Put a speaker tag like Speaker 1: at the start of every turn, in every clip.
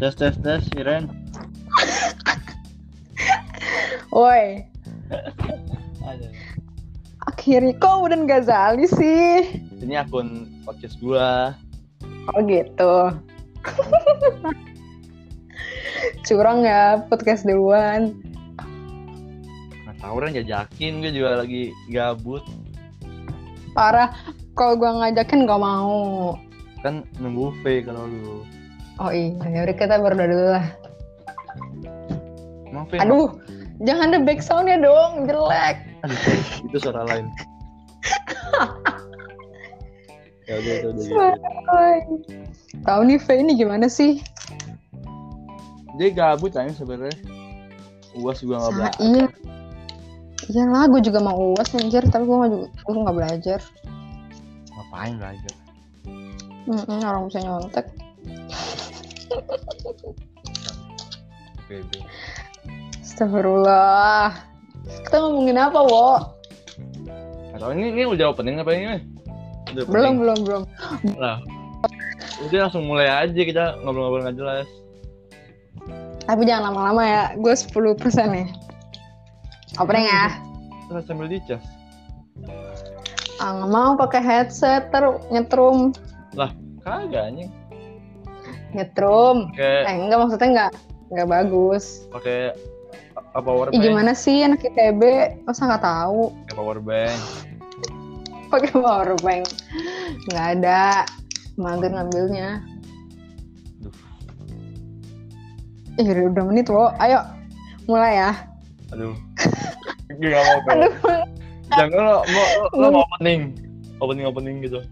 Speaker 1: Tes tes tes Iren.
Speaker 2: Woi,
Speaker 1: Ada.
Speaker 2: akhirnya kok udah Ghazali sih?
Speaker 3: Ini akun podcast gua.
Speaker 2: Oh gitu. Curang ya podcast duluan.
Speaker 3: Nggak tahu orang jajakin gue juga lagi gabut
Speaker 2: Parah, kalau gua ngajakin gak mau.
Speaker 3: kan nunggu V kalau lu.
Speaker 2: Oh iya, yaudah kita berdua dulu lah.
Speaker 3: Emang V?
Speaker 2: Aduh, jangan ada back soundnya dong, jelek.
Speaker 3: Aduh, itu suara lain. ya udah itu udah. gitu.
Speaker 2: Suara. Tahu nih V ini gimana sih?
Speaker 3: Dia gabut aja sebenarnya. Uas juga nggak
Speaker 2: Sa-
Speaker 3: Oh, belajar.
Speaker 2: iya. Iyalah, gue juga mau uas anjir, tapi gue gak, gua nggak belajar.
Speaker 3: Ngapain belajar?
Speaker 2: Mm-mm, orang bisa nyontek.
Speaker 3: Bebe.
Speaker 2: Astagfirullah. Kita ngomongin apa, Wo?
Speaker 3: Atau ini ini udah opening apa ini? Udah
Speaker 2: Belum, belum, belum.
Speaker 3: opening. Lah. Udah langsung mulai aja kita ngobrol-ngobrol nggak jelas.
Speaker 2: Tapi jangan lama-lama ya. Gue 10 persen nih. Opening ya.
Speaker 3: Terus sambil dicas.
Speaker 2: Ah, nggak mau pakai headset, ter nyetrum.
Speaker 3: Kagak anjing.
Speaker 2: Nyetrum.
Speaker 3: Kayak
Speaker 2: Eh, enggak maksudnya enggak. Enggak bagus.
Speaker 3: pakai apa power
Speaker 2: Ih,
Speaker 3: bank?
Speaker 2: gimana sih anak ITB? Masa nggak tahu?
Speaker 3: Pakai power bank.
Speaker 2: Pakai powerbank. Nggak ada. Mager ngambilnya.
Speaker 3: Duh.
Speaker 2: Ih, Eh, udah dua menit, Wo. Ayo. Mulai ya.
Speaker 3: Aduh. Gue gak mau kayak.
Speaker 2: Aduh,
Speaker 3: Jangan lo mau lo, lo mau opening. Opening opening gitu.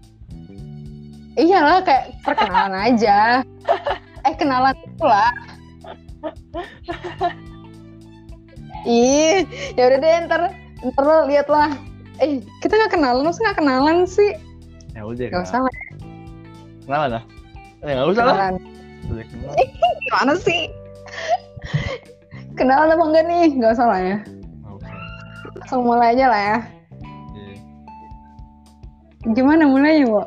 Speaker 2: Iyalah kayak perkenalan aja. Eh kenalan itu lah. Ih, ya udah deh ntar ntar lo lihat lah. Eh kita nggak kenalan, masa nggak kenalan sih?
Speaker 3: Ya udah.
Speaker 2: Gak usah lah
Speaker 3: Kenalan lah. Eh enggak usah lah.
Speaker 2: kenalan.
Speaker 3: Udah kenal.
Speaker 2: Gimana sih? kenalan apa enggak nih? Gak usah lah ya.
Speaker 3: Nggak usah.
Speaker 2: Langsung mulai aja lah ya.
Speaker 3: Iya.
Speaker 2: Gimana mulainya, Wo?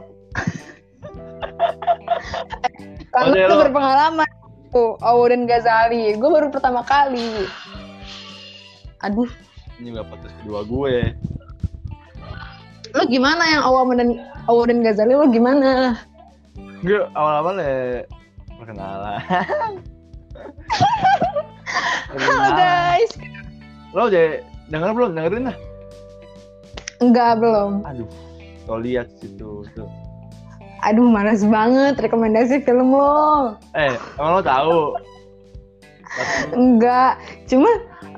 Speaker 2: Kamu
Speaker 3: Oke,
Speaker 2: tuh
Speaker 3: lo-
Speaker 2: berpengalaman. Tuh, Auden Ghazali. Gue baru pertama kali. Aduh,
Speaker 3: Ini juga podcast kedua gue.
Speaker 2: lo gimana yang awal dan Auden Ghazali lo gimana?
Speaker 3: Gue awal-awal ya perkenalan.
Speaker 2: Halo guys.
Speaker 3: Lo udah denger belum? Dengerin lah.
Speaker 2: Enggak belum.
Speaker 3: Aduh. Lo lihat situ tuh.
Speaker 2: Aduh, malas banget rekomendasi film lo.
Speaker 3: Eh, emang lo tahu? Pas-
Speaker 2: Enggak. Cuma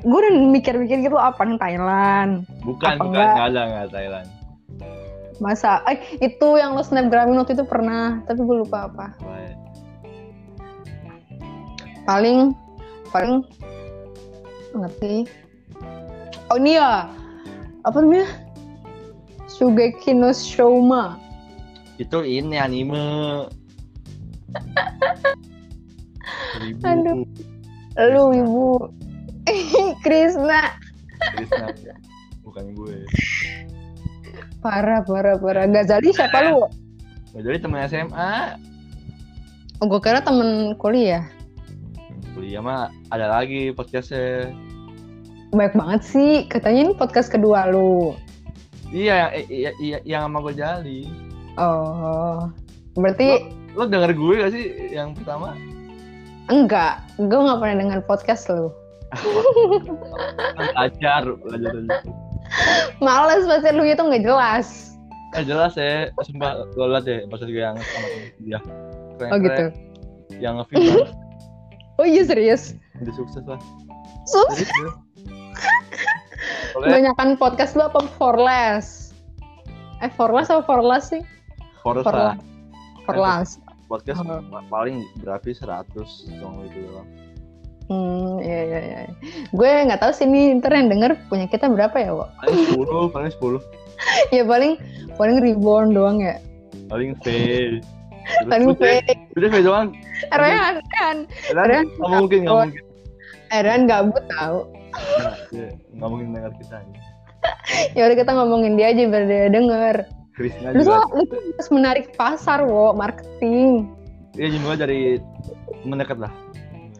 Speaker 2: gue udah mikir-mikir gitu apa nih Thailand.
Speaker 3: Bukan,
Speaker 2: Apa
Speaker 3: bukan.
Speaker 2: enggak?
Speaker 3: Nggak ada, nggak Thailand.
Speaker 2: Masa eh itu yang lo snapgramin waktu itu pernah, tapi gue lupa apa.
Speaker 3: Baik.
Speaker 2: paling paling ngerti oh ini ya apa namanya Shugeki no Shoma
Speaker 3: Itu ini anime. Seribu.
Speaker 2: Aduh. lu ibu Krisna
Speaker 3: Krisna. Bukan gue.
Speaker 2: parah parah parah Ghazali siapa lu
Speaker 3: Nah, jadi temen SMA,
Speaker 2: oh, gue kira temen kuliah
Speaker 3: Hmm, kuliah mah ada lagi podcastnya.
Speaker 2: banyak banget sih katanya ini podcast kedua lu
Speaker 3: Iya, yang, iya, iya, yang sama gue jali.
Speaker 2: oh berarti
Speaker 3: Lo denger gue gak sih yang pertama?
Speaker 2: enggak gue nggak pernah dengan podcast lu
Speaker 3: Kan Belajar, belajar aja.
Speaker 2: males pasti lu itu nggak jelas
Speaker 3: Eh jelas ya, sumpah lo liat deh podcast gue yang sama dia. Keren,
Speaker 2: oh gitu
Speaker 3: Yang ngefilm
Speaker 2: oh iya serius
Speaker 3: udah sukses lah.
Speaker 2: Sus.
Speaker 3: Jadi gue. Soalnya
Speaker 2: Kebanyakan podcast lu apa for less? Eh for less apa for less sih?
Speaker 3: Forest
Speaker 2: For
Speaker 3: lah.
Speaker 2: less. For less.
Speaker 3: Podcast
Speaker 2: Oh.
Speaker 3: paling berapa sih? 100 dong itu doang.
Speaker 2: Hmm, iya iya iya. Gue nggak tahu sih ini ntar yang denger punya kita berapa ya, Wo?
Speaker 3: Paling 10, paling 10.
Speaker 2: ya paling paling reborn doang ya.
Speaker 3: Paling V. Terus
Speaker 2: Paling
Speaker 3: udah-
Speaker 2: fake. Eh,
Speaker 3: Udah V doang.
Speaker 2: Rehan, Rehan.
Speaker 3: Padahal nggak mungkin, nggak mungkin.
Speaker 2: Eh, Rehan gabut tahu.
Speaker 3: Nah, dia nggak mungkin dengar kita.
Speaker 2: Ya udah kita ngomongin dia aja biar dia denger.
Speaker 3: Krisna
Speaker 2: Lu tuh
Speaker 3: juga.
Speaker 2: lu tuh harus menarik pasar, Wo, marketing.
Speaker 3: Iya, Dia juga dari mendekat lah.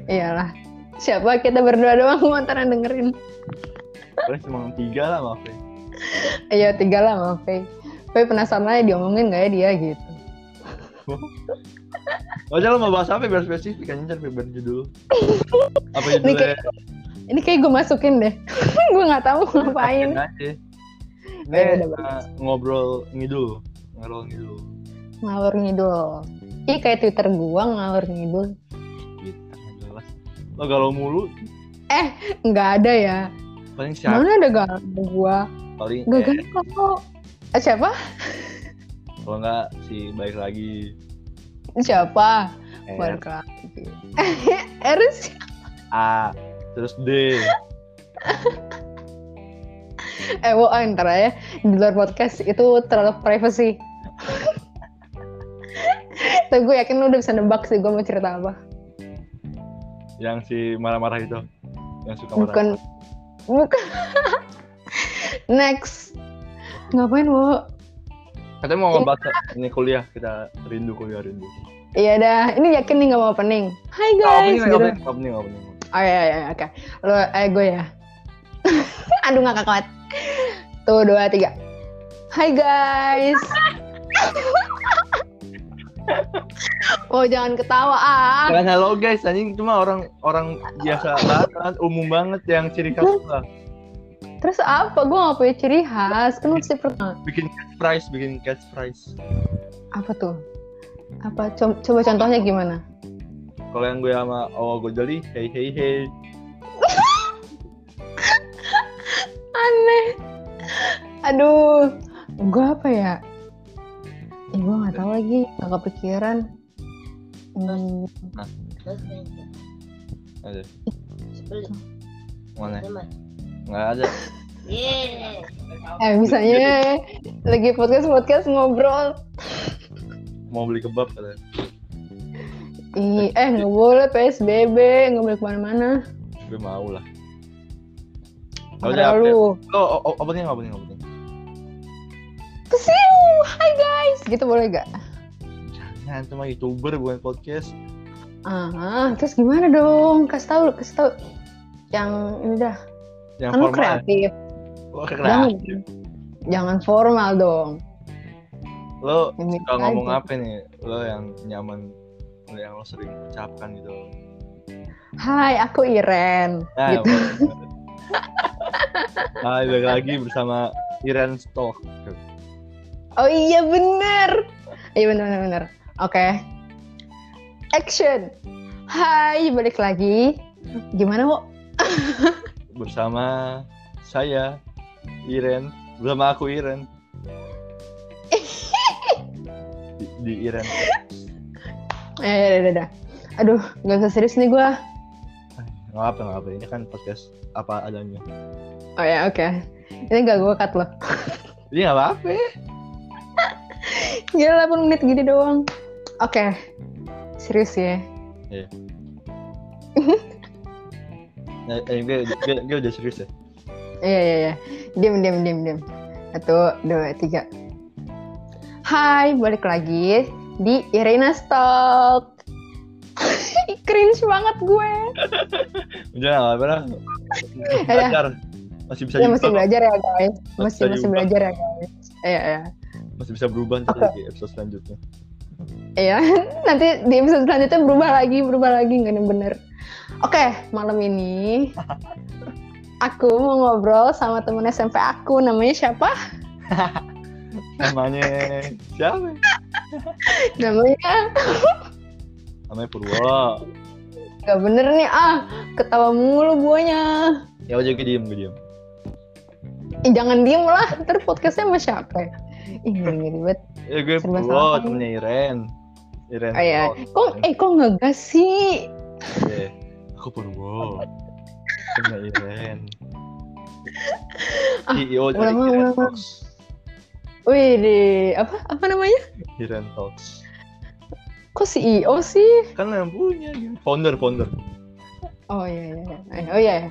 Speaker 2: Iyalah. Siapa kita berdua doang mau ntar yang dengerin.
Speaker 3: Paling cuma tiga lah ya. maafin.
Speaker 2: Ayo Iya, tiga lah sama Faye. Faye penasaran aja diomongin gak ya dia gitu.
Speaker 3: Oh, jangan mau bahas apa biar spesifik anjir biar biar judul. Apa judulnya?
Speaker 2: kayak Ini kayak gue masukin deh. gue nggak tahu mau ngapain.
Speaker 3: aja. Ini
Speaker 2: Ya, udah,
Speaker 3: eh,
Speaker 2: bagus.
Speaker 3: ngobrol ngidul, ngobrol ngidul.
Speaker 2: Ngawur ngidul. Ih kayak Twitter gue ngawur ngidul.
Speaker 3: Gitu, nggak jelas. Lo galau mulu,
Speaker 2: Nggak ada ya.
Speaker 3: paling siapa?
Speaker 2: Mana ada galau gue.
Speaker 3: Paling
Speaker 2: Gak
Speaker 3: eh,
Speaker 2: galau kok. Eh, Siapa?
Speaker 3: kalau nggak si baik lagi.
Speaker 2: Siapa?
Speaker 3: R,
Speaker 2: Balik lagi. Eris
Speaker 3: A, terus D.
Speaker 2: Eh, wow, ntar ya di luar podcast itu terlalu privacy. Tapi gue yakin lu udah bisa nebak sih gue mau cerita apa.
Speaker 3: yang si marah-marah itu yang suka marah
Speaker 2: Bukan, bukan. Next, ngapain wo?
Speaker 3: katanya
Speaker 2: Ya.
Speaker 3: mau ngebahas ini kuliah kita rindu kuliah rindu
Speaker 2: Iya dah, ini yakin nih gak mau opening. Hai
Speaker 3: opening
Speaker 2: guys, gitu.
Speaker 3: opening opening opening
Speaker 2: Oh iya, iya, iya, oke. Lo, eh gue ya. Aduh gak kakak. Tuh, dua, tiga. Hai guys. oh jangan ketawa ah.
Speaker 3: Jangan halo guys anjing cuma orang orang biasa banget umum banget yang ciri khas lah
Speaker 2: Terus apa? Gue gak punya ciri khas. Kan lu mesti pernah.
Speaker 3: bikin catchphrase bikin catchphrase
Speaker 2: Apa tuh? Apa? Co- Coba contohnya gimana?
Speaker 3: kalau yang gue sama oh gue jeli hey hey hey
Speaker 2: Aneh. Aduh. Gue apa ya? Eh, gue gak tahu lagi. Gak kepikiran. Hmm,
Speaker 3: ada
Speaker 4: Sepuluh.
Speaker 3: mana
Speaker 4: Lima.
Speaker 3: nggak ada
Speaker 4: Yeay.
Speaker 2: eh, misalnya lagi podcast-podcast ngobrol.
Speaker 3: mau beli kebab katanya
Speaker 2: Ih, eh, gak boleh PSBB. Gak boleh kemana-mana.
Speaker 3: gue mau lah Oh,
Speaker 2: Karena lu.
Speaker 3: lo opening opening opening
Speaker 2: Kesiu. Hai guys. Gitu boleh gak?
Speaker 3: jangan cuma Nah, youtuber bukan podcast
Speaker 2: Ah, terus gimana dong? Kasih tahu, kasih tahu. Yang ini dah,
Speaker 3: yang
Speaker 2: kan lu
Speaker 3: formal
Speaker 2: kreatif.
Speaker 3: lo
Speaker 2: Jangan,
Speaker 3: kreatif
Speaker 2: jangan formal dong.
Speaker 3: lo
Speaker 2: Yang
Speaker 3: suka
Speaker 2: biasa
Speaker 3: ngomong
Speaker 2: aja.
Speaker 3: apa nih lo yang nyaman lo yang lo sering ucapkan gitu
Speaker 2: Hai, aku Iren.
Speaker 3: nah,
Speaker 2: gitu.
Speaker 3: boleh. Hai, balik lagi bersama Iren Stock
Speaker 2: Oh iya bener. Iya bener bener. bener. Oke. Action. Hai, balik lagi. Gimana, Wo?
Speaker 3: bersama saya Iren bersama aku Iren di, di Iren
Speaker 2: Eh, udah, udah, udah. Aduh, gak usah serius nih gua.
Speaker 3: nggak apa nggak apa ini kan podcast apa adanya
Speaker 2: Oh ya, oke. Ini gak gua cut loh.
Speaker 3: ini nggak apa, -apa.
Speaker 2: Gila 8 menit gini doang. Oke. Serius ya.
Speaker 3: Nah, eh, gue, gue, gue udah serius ya
Speaker 2: Iya iya iya. Diam diam diam diam. Satu dua tiga. Hai balik lagi di Irina Stock. Cringe banget gue.
Speaker 3: udah nggak apa lah Masih
Speaker 2: Udah.
Speaker 3: belajar masih bisa
Speaker 2: Ya masih
Speaker 3: diubah,
Speaker 2: belajar ya guys. Masih
Speaker 3: Bisa
Speaker 2: masih
Speaker 3: diubah.
Speaker 2: belajar ya guys. Iya iya.
Speaker 3: masih bisa berubah nanti
Speaker 2: Oke.
Speaker 3: di episode selanjutnya
Speaker 2: Iya. Nanti di episode selanjutnya berubah lagi berubah lagi nggak ada yang bener. Oke malam ini aku mau ngobrol sama temen SMP aku namanya siapa?
Speaker 3: namanya siapa
Speaker 2: Namanya
Speaker 3: namanya Purwo
Speaker 2: nggak bener nih ah ketawa mulu guanya.
Speaker 3: ya udah gue diem gue diem
Speaker 2: Ih, Eh, jangan diem lah, ntar podcastnya sama siapa ya? Ih, ngeri banget.
Speaker 3: ya gue
Speaker 2: Serba
Speaker 3: Purwo
Speaker 2: salah.
Speaker 3: temennya Iren Iren
Speaker 2: Oh iya.
Speaker 3: Purwo.
Speaker 2: Kok, eh kok ngegas sih?
Speaker 3: Iya. aku Purwo temennya Iren
Speaker 2: Ah,
Speaker 3: CEO dari
Speaker 2: ulang,
Speaker 3: Iren
Speaker 2: ulang,
Speaker 3: Talks
Speaker 2: Wih, deh. apa apa namanya?
Speaker 3: Iren Talks
Speaker 2: Kok CEO sih?
Speaker 3: kan yang punya dia. founder founder
Speaker 2: Oh iya, iya, iya. Eh, Oh iya, iya.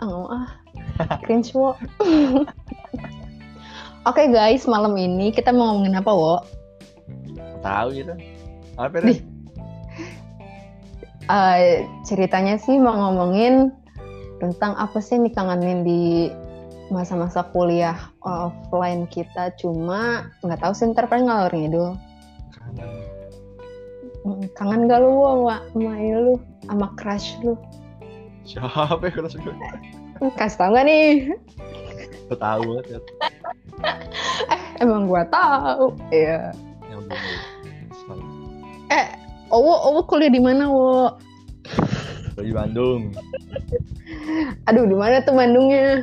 Speaker 2: Ah, ngomong ah. Cringe, wo. Oke guys, malam ini kita mau ngomongin apa, wo?
Speaker 3: gitu. tahu Iren apa Iren
Speaker 2: eh, ceritanya sih mau ngomongin tentang apa sih yang dikangenin di masa-masa kuliah offline kita cuma nggak tahu sih ntar paling ngalor ngidul Mm, kangen gak lu sama sama ini lu sama crush lu
Speaker 3: Siapa ya kelas gue?
Speaker 2: Hmm, kasih tau gak nih
Speaker 3: Gak tau banget ya.
Speaker 2: emang gua tahu iya
Speaker 3: Yang belum belum.
Speaker 2: owo owo oh, kuliah di mana wo
Speaker 3: Gua Di Bandung.
Speaker 2: aduh di mana tuh Bandungnya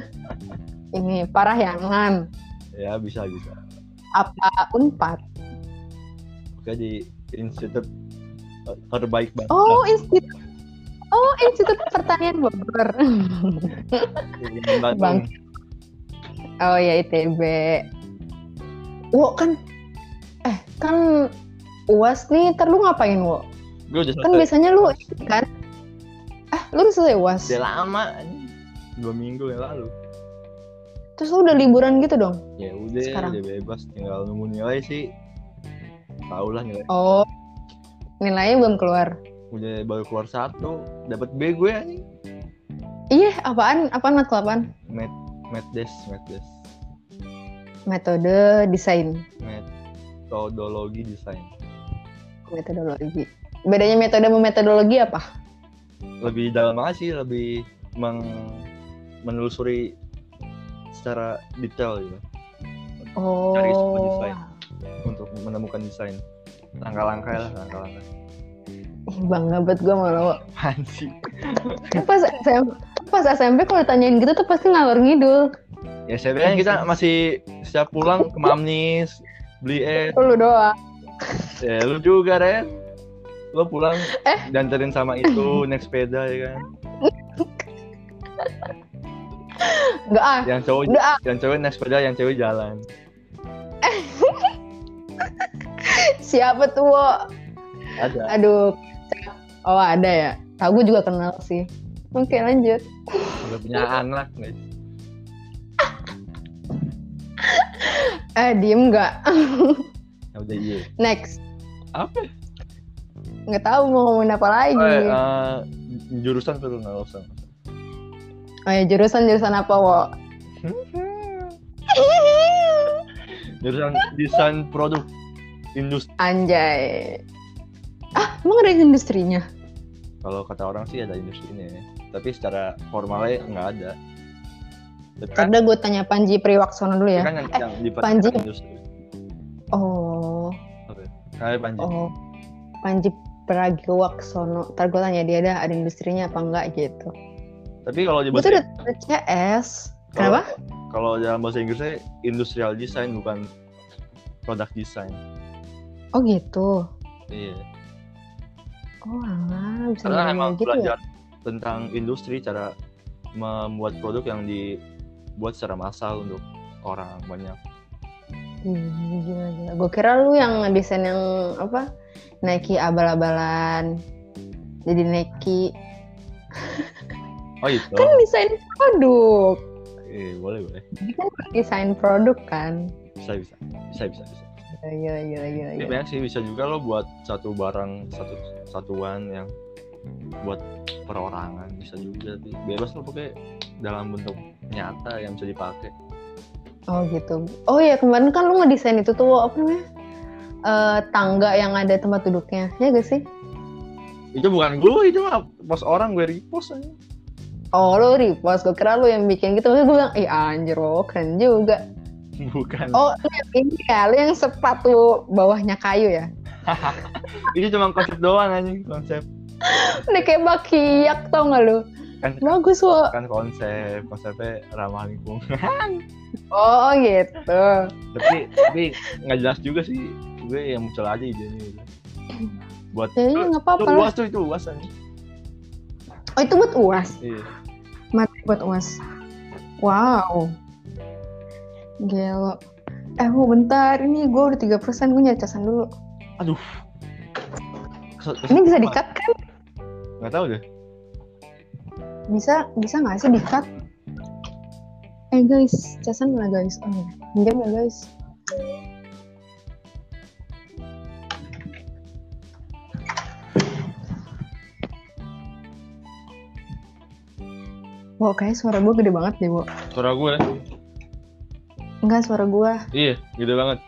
Speaker 2: ini parah ya man
Speaker 3: Ya bisa bisa.
Speaker 2: apa unpad
Speaker 3: Oke di Institut eh, terbaik banget.
Speaker 2: oh institut oh institut pertanian Bogor
Speaker 3: di Bandung.
Speaker 2: Bang. Oh ya ITB. Wo kan eh kan UAS nih ntar lu ngapain Wo?
Speaker 3: Gue udah
Speaker 2: Kan
Speaker 3: selesai.
Speaker 2: biasanya lu ini kan Ah, lu udah selesai UAS.
Speaker 3: Udah lama. anjing. Dua minggu yang lalu.
Speaker 2: Terus lu udah liburan gitu dong.
Speaker 3: Ya udah,
Speaker 2: Sekarang.
Speaker 3: udah bebas. Tinggal nunggu nilai sih. Tau lah nilai.
Speaker 2: Oh. Nilainya belum keluar.
Speaker 3: Udah baru keluar satu. Dapat B gue anjing.
Speaker 2: Iya, apaan? Apaan matkul apaan?
Speaker 3: Med, med des, med des.
Speaker 2: Metode desain,
Speaker 3: Metodologi desain.
Speaker 2: metodologi. Bedanya metode sama metodologi apa?
Speaker 3: lebih dalam aja sih lebih meng- menelusuri secara detail gitu semua
Speaker 2: Oh.
Speaker 3: desain. untuk menemukan desain langkah-langkah lah langkah-langkah
Speaker 2: Ih, bangga banget gue malu.
Speaker 3: Apaan sih
Speaker 2: Kan Pas SMP, pas SMP kalau ditanyain gitu tuh pasti ngalor ngidul.
Speaker 3: ya sebenarnya kita masih setiap pulang ke Mamnis beli es
Speaker 2: Lu doang.
Speaker 3: ya lu juga Ren lu pulang
Speaker 2: Eh.
Speaker 3: dianterin sama itu naik sepeda ya kan
Speaker 2: Enggak ah.
Speaker 3: yang cowok
Speaker 2: Udah ah,
Speaker 3: yang cowok naik sepeda yang cewek jalan
Speaker 2: siapa tuh? Wo?
Speaker 3: ada
Speaker 2: Aduh. Oh ada ya. Tahu gue juga kenal sih. Oke lanjut.
Speaker 3: udah punya anak guys
Speaker 2: Eh diem nggak?
Speaker 3: ya udah iya
Speaker 2: Next.
Speaker 3: Apa?
Speaker 2: Nggak tahu mau ngomongin apa lagi.
Speaker 3: eh, eh, jurusan perlu nggak usah
Speaker 2: Oh ya jurusan jurusan apa wo?
Speaker 3: jurusan desain produk industri
Speaker 2: Anjay. Ah emang ada industrinya?
Speaker 3: kalau kata orang sih ada industrinya ya tapi secara formalnya nggak ada tapi kan,
Speaker 2: Karena gue tanya Panji Priwaksono dulu ya.
Speaker 3: kan yang, yang
Speaker 2: Panji.
Speaker 3: dipakai industri
Speaker 2: Oh.
Speaker 3: kayak Panji
Speaker 2: Oh, Panji Pragiwaksono. Ntar gue tanya dia dah ada industrinya apa enggak gitu.
Speaker 3: tapi kalau di
Speaker 2: Gue
Speaker 3: bahasa
Speaker 2: tuh udah udah CS.
Speaker 3: kalau-
Speaker 2: Kenapa?
Speaker 3: kalau dalam bahasa Inggrisnya industrial design bukan product design
Speaker 2: Oh gitu.
Speaker 3: iya
Speaker 2: Oh alah, bisa
Speaker 3: karena
Speaker 2: ngomong
Speaker 3: emang
Speaker 2: gitu ya?
Speaker 3: belajar tentang industri cara membuat produk yang dibuat secara massal untuk orang banyak
Speaker 2: Ih, Gila, gila. Gue kira lu yang desain yang apa? Nike abal-abalan. Jadi Nike.
Speaker 3: oh itu
Speaker 2: Kan desain produk.
Speaker 3: eh, boleh boleh
Speaker 2: Desain produk kan.
Speaker 3: bisa bisa bisa bisa bisa
Speaker 2: Gila, gila, gila, gila,
Speaker 3: Ini
Speaker 2: gila.
Speaker 3: banyak sih bisa juga lo buat satu barang satu satuan yang buat perorangan bisa juga sih. bebas lo pakai dalam bentuk nyata yang bisa dipakai.
Speaker 2: Oh gitu. Oh ya kemarin kan lu ngedesain itu tuh apa namanya? Eh, tangga yang ada tempat duduknya. Ya gak sih?
Speaker 3: Itu bukan gue itu mah post orang gue repost aja.
Speaker 2: Oh lo repost, gue kira lo yang bikin gitu Maksudnya gue bilang, iya anjir lo keren juga
Speaker 3: Bukan.
Speaker 2: Oh lo yang ini ya, lo yang sepatu bawahnya kayu ya
Speaker 3: Itu cuma konsep doang anjing, konsep.
Speaker 2: Ini kayak bakiak tau gak lo
Speaker 3: Kan
Speaker 2: Bagus lo
Speaker 3: kan konsep, konsepnya ramah lingkungan.
Speaker 2: Oh gitu
Speaker 3: tapi tapi nggak jelas juga sih. Gue yang muncul aja idenya gitu. Buat
Speaker 2: Ya iya gak
Speaker 3: itu
Speaker 2: apa-apa lah
Speaker 3: uas tuh itu uas anjing.
Speaker 2: Oh itu buat uas
Speaker 3: Iya.
Speaker 2: Mati buat uas Wow Gelo Eh mau bentar, ini gue udah 3% gue nyari casan dulu
Speaker 3: Kesel- kesel
Speaker 2: Ini bisa
Speaker 3: banget.
Speaker 2: di-cut kan?
Speaker 3: Nggak tahu deh.
Speaker 2: Bisa, bisa gak sih di-cut? Eh guys, casan mana guys? Oh iya, pinjam ya guys Wow, kayak suara gue gede banget deh, Bo.
Speaker 3: Suara gue, kan,
Speaker 2: Enggak, suara gue
Speaker 3: iya, gede banget.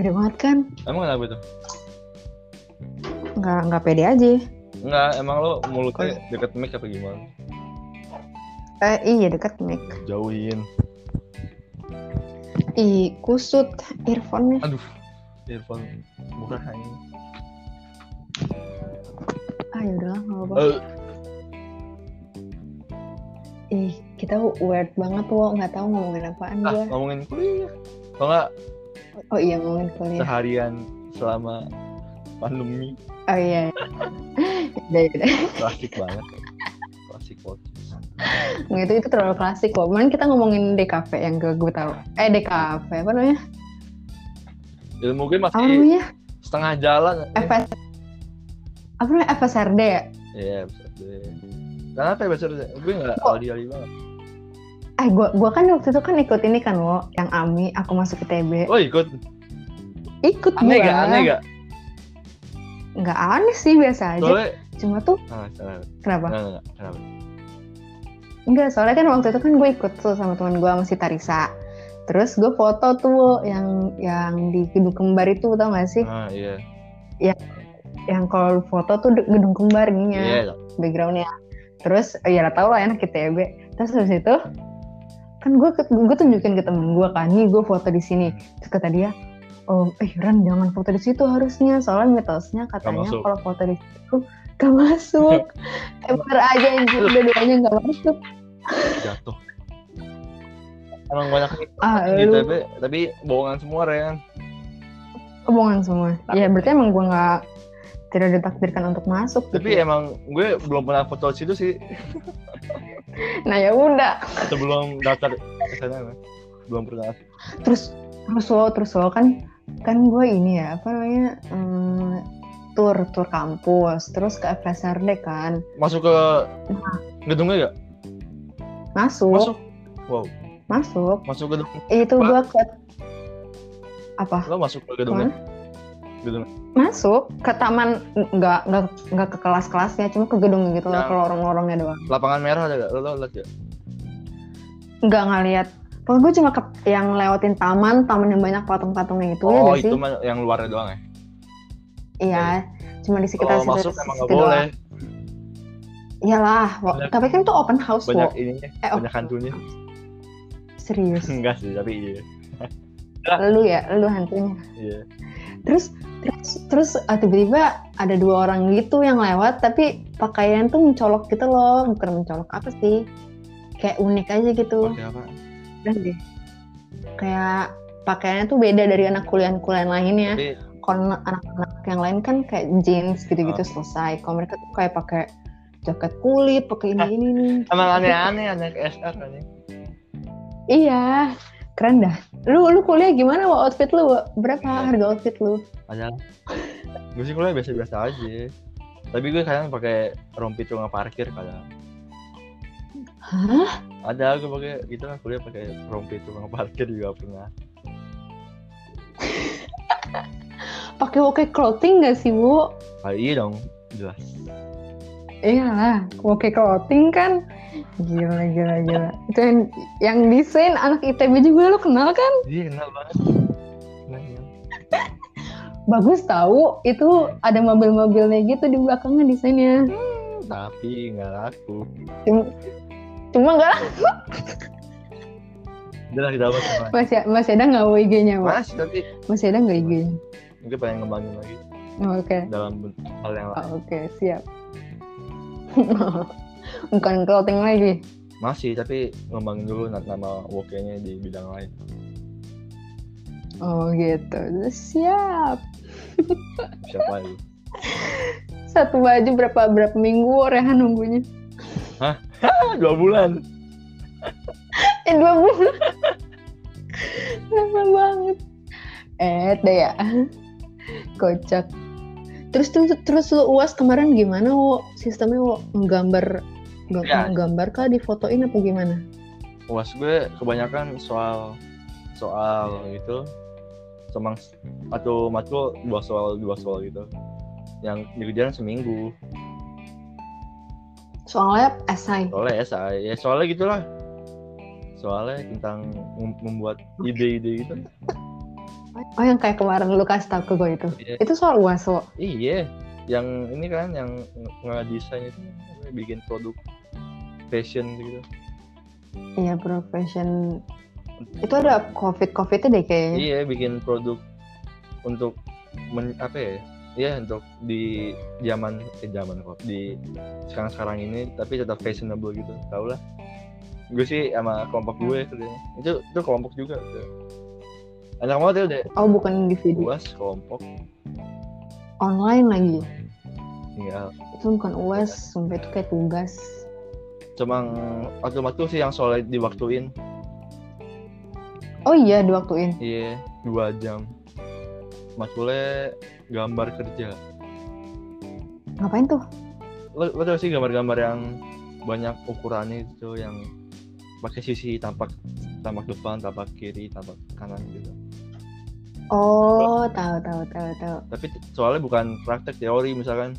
Speaker 2: gede banget kan?
Speaker 3: Emang kenapa itu?
Speaker 2: Enggak, enggak pede aja.
Speaker 3: Enggak, emang lo mulutnya deket mic apa gimana?
Speaker 2: Eh, iya dekat mic.
Speaker 3: Jauhin.
Speaker 2: Ih, kusut earphone-nya.
Speaker 3: Aduh, earphone murah ini.
Speaker 2: Ah, yaudah lah, enggak
Speaker 3: Eh,
Speaker 2: apa-apa. Ih, kita weird banget, Wo. Enggak tahu ngomongin apaan
Speaker 3: Ah,
Speaker 2: gue.
Speaker 3: ngomongin kuliah. Kalau nggak Ah.
Speaker 2: Oh iya, ngomongin kuliah.
Speaker 3: seharian selama pandemi
Speaker 2: Oh iya. Udah, udah.
Speaker 3: klasik banget. Klasik podcast.
Speaker 2: Nggak, Nah, itu, itu terlalu klasik kok. Kemarin kita ngomongin DKV yang gue, gue tahu. Eh, DKV apa namanya?
Speaker 3: Ilmu gue
Speaker 2: Apa
Speaker 3: masih
Speaker 2: namanya?
Speaker 3: setengah jalan.
Speaker 2: FS apa namanya? FSRD ya?
Speaker 3: Iya, bisa deh. Kenapa ya besar Gue nggak
Speaker 2: Kok-
Speaker 3: ahli-ahli banget.
Speaker 2: Eh, gua gua kan waktu itu kan ikut ini kan, Wo. Yang AMI, aku masuk ITB.
Speaker 3: Oh ikut?
Speaker 2: Ikut
Speaker 3: Aneh
Speaker 2: gua.
Speaker 3: gak? Aneh gak?
Speaker 2: Nggak aneh sih, biasa aja.
Speaker 3: Soalnya,
Speaker 2: Cuma tuh,
Speaker 3: ah, salah.
Speaker 2: kenapa?
Speaker 3: Nggak, nggak, kenapa?
Speaker 2: Enggak, soalnya kan waktu itu kan gue ikut tuh sama teman gue masih Tarisa. Terus gue foto tuh Wo, yang yang di gedung kembar itu tau gak sih?
Speaker 3: Ah, iya.
Speaker 2: Yang kalau lu foto tuh de- gedung kembar gini
Speaker 3: Iya,
Speaker 2: ya, backgroundnya. Terus ya lah tau lah enak ITB. Terus habis itu kan gue ke- gue tunjukin ke temen gue kan, nih gue foto di sini. Terus kata dia, oh eh Ran jangan foto di situ harusnya soalnya mitosnya katanya
Speaker 3: masuk.
Speaker 2: kalau foto di situ gak masuk. eh, bener aja anjir, dua-duanya gak masuk.
Speaker 3: jatuh. Emang banyak
Speaker 2: Ah,
Speaker 3: di
Speaker 2: lu.
Speaker 3: ITB, tapi bohongan semua, Ren.
Speaker 2: Kebohongan semua. Ya berarti emang gue nggak tidak ditakdirkan untuk masuk.
Speaker 3: Tapi
Speaker 2: gitu.
Speaker 3: emang gue belum pernah foto situ sih
Speaker 2: Nah ya udah.
Speaker 3: sebelum daftar ke sana. Ren. Belum pernah.
Speaker 2: Terus terus lo terus lo kan kan gue ini ya apa namanya em, tur tur kampus terus ke FSRD kan
Speaker 3: Masuk ke gedungnya gak?
Speaker 2: masuk
Speaker 3: Masuk.
Speaker 2: Oh.
Speaker 3: Wow,
Speaker 2: masuk, Eh,
Speaker 3: masuk gedung.
Speaker 2: itu
Speaker 3: Pak.
Speaker 2: gue ke apa
Speaker 3: Lo masuk ke gedungnya? Gedung.
Speaker 2: masuk ke taman nggak nggak nggak ke kelas-kelasnya cuma ke gedung gitu loh
Speaker 3: Yang-
Speaker 2: ke lorong-lorongnya doang
Speaker 3: Lapangan merah ada gak? Lo, lo liat gak?
Speaker 2: nggak ngeliat kalau gue cuma ke yang lewatin taman taman yang banyak patung-patungnya itu ya
Speaker 3: oh,
Speaker 2: nggak sih
Speaker 3: itu mah yang luarnya doang ya?
Speaker 2: Iya, cuma di sekitar
Speaker 3: Kalau
Speaker 2: situ.
Speaker 3: Oh, masuk emang gak
Speaker 2: situ doang.
Speaker 3: boleh.
Speaker 2: Iyalah, Wo.
Speaker 3: Banyak-
Speaker 2: tapi kan itu open house,
Speaker 3: Banyak
Speaker 2: Wo.
Speaker 3: ininya,
Speaker 2: Eh, open
Speaker 3: banyak hantunya.
Speaker 2: house. Serius.
Speaker 3: Enggak sih, tapi iya.
Speaker 2: lu ya, lu hantunya.
Speaker 3: Iya.
Speaker 2: Terus terus terus ah, tiba-tiba ada dua orang gitu yang lewat tapi pakaian tuh mencolok gitu loh, bukan mencolok apa sih? Kayak unik aja gitu.
Speaker 3: Pakai apa?
Speaker 2: Udah deh. Kayak pakaiannya tuh beda dari anak kuliah-kuliah lainnya.
Speaker 3: Tapi
Speaker 2: kalau anak-anak yang lain kan kayak jeans gitu-gitu selesai. Kalau mereka tuh kayak pakai jaket kulit, pakai ini ini nih.
Speaker 3: emang aneh-aneh anak SR kan ya?
Speaker 2: Iya, keren dah. Lu lu kuliah gimana Wak? outfit lu? Wak? Berapa harga outfit lu?
Speaker 3: Padahal gue sih kuliah biasa-biasa aja. Tapi gue kadang pakai rompi tukang parkir kadang.
Speaker 2: Hah?
Speaker 3: Ada gue pakai gitu lah kuliah pakai rompi tukang parkir juga pernah.
Speaker 2: Pakai woke clothing gak sih, Bu?
Speaker 3: Ah, iya dong, jelas.
Speaker 2: Iyalah, Iya, woke clothing kan. Gila, gila, gila. Itu yang, yang desain anak ITB juga lu kenal kan?
Speaker 3: Iya kenal banget. Nah, iya. Kenal, kenal.
Speaker 2: Bagus tahu. Itu ada mobil-mobilnya gitu di belakangnya desainnya.
Speaker 3: Tapi nggak laku.
Speaker 2: Cuma, cuma nggak
Speaker 3: Udah lah kita bahas yang lain.
Speaker 2: masih masih ada nggak IG-nya, Wak?
Speaker 3: Masih tapi
Speaker 2: Masih ada nggak IG-nya?
Speaker 3: gue pengen ngembangin lagi
Speaker 2: Oh, Oke.
Speaker 3: dalam ben- hal yang lain.
Speaker 2: Oh, Oke, siap. Bukan clothing lagi.
Speaker 3: Masih tapi ngembangin dulu na- nama woke-nya di bidang lain.
Speaker 2: Oh gitu, siap.
Speaker 3: Siapa itu?
Speaker 2: Satu baju berapa berapa minggu Rehan nunggunya?
Speaker 3: Ah, dua bulan.
Speaker 2: Eh dua bulan. Lama banget. Eh deh ya, kocak. Terus tuh terus lu uas kemarin gimana wo? Sistemnya wo menggambar nggak
Speaker 3: Ya.
Speaker 2: menggambar kah difotoin apa gimana?
Speaker 3: uas gue kebanyakan soal soal gitu semang atau matkul dua soal dua soal gitu yang dikerjain seminggu
Speaker 2: soalnya esai
Speaker 3: soalnya ya saya ya soalnya gitulah soalnya tentang mem- membuat ide-ide gitu
Speaker 2: oh yang kayak kemarin lu kasih tau ke gue itu
Speaker 3: Iya.
Speaker 2: itu soal UASO
Speaker 3: iya yang ini kan yang nge- ngedesain itu bikin produk fashion gitu
Speaker 2: iya profession itu ada covid covidnya deh kayaknya
Speaker 3: Iya, bikin produk untuk men, apa ya? Iya, untuk di zaman eh zaman kok di sekarang-sekarang ini tapi tetap fashionable gitu. Tau lah. Gue sih sama kelompok gue kerjanya. Itu itu kelompok juga. Gitu. Anak banget ya udah
Speaker 2: oh bukan individu
Speaker 3: luas kelompok
Speaker 2: online lagi
Speaker 3: tinggal
Speaker 2: itu bukan UAS sumpah itu kayak tugas
Speaker 3: cuma otomatis sih yang soalnya diwaktuin
Speaker 2: oh iya diwaktuin
Speaker 3: iya dua jam matkulnya gambar kerja
Speaker 2: ngapain tuh
Speaker 3: lo, lo tau sih gambar-gambar yang banyak ukurannya itu yang pakai sisi tampak tampak depan, tampak kiri, tampak kanan gitu.
Speaker 2: oh tahu tahu tahu tahu
Speaker 3: Tapi t- soalnya bukan praktek teori misalkan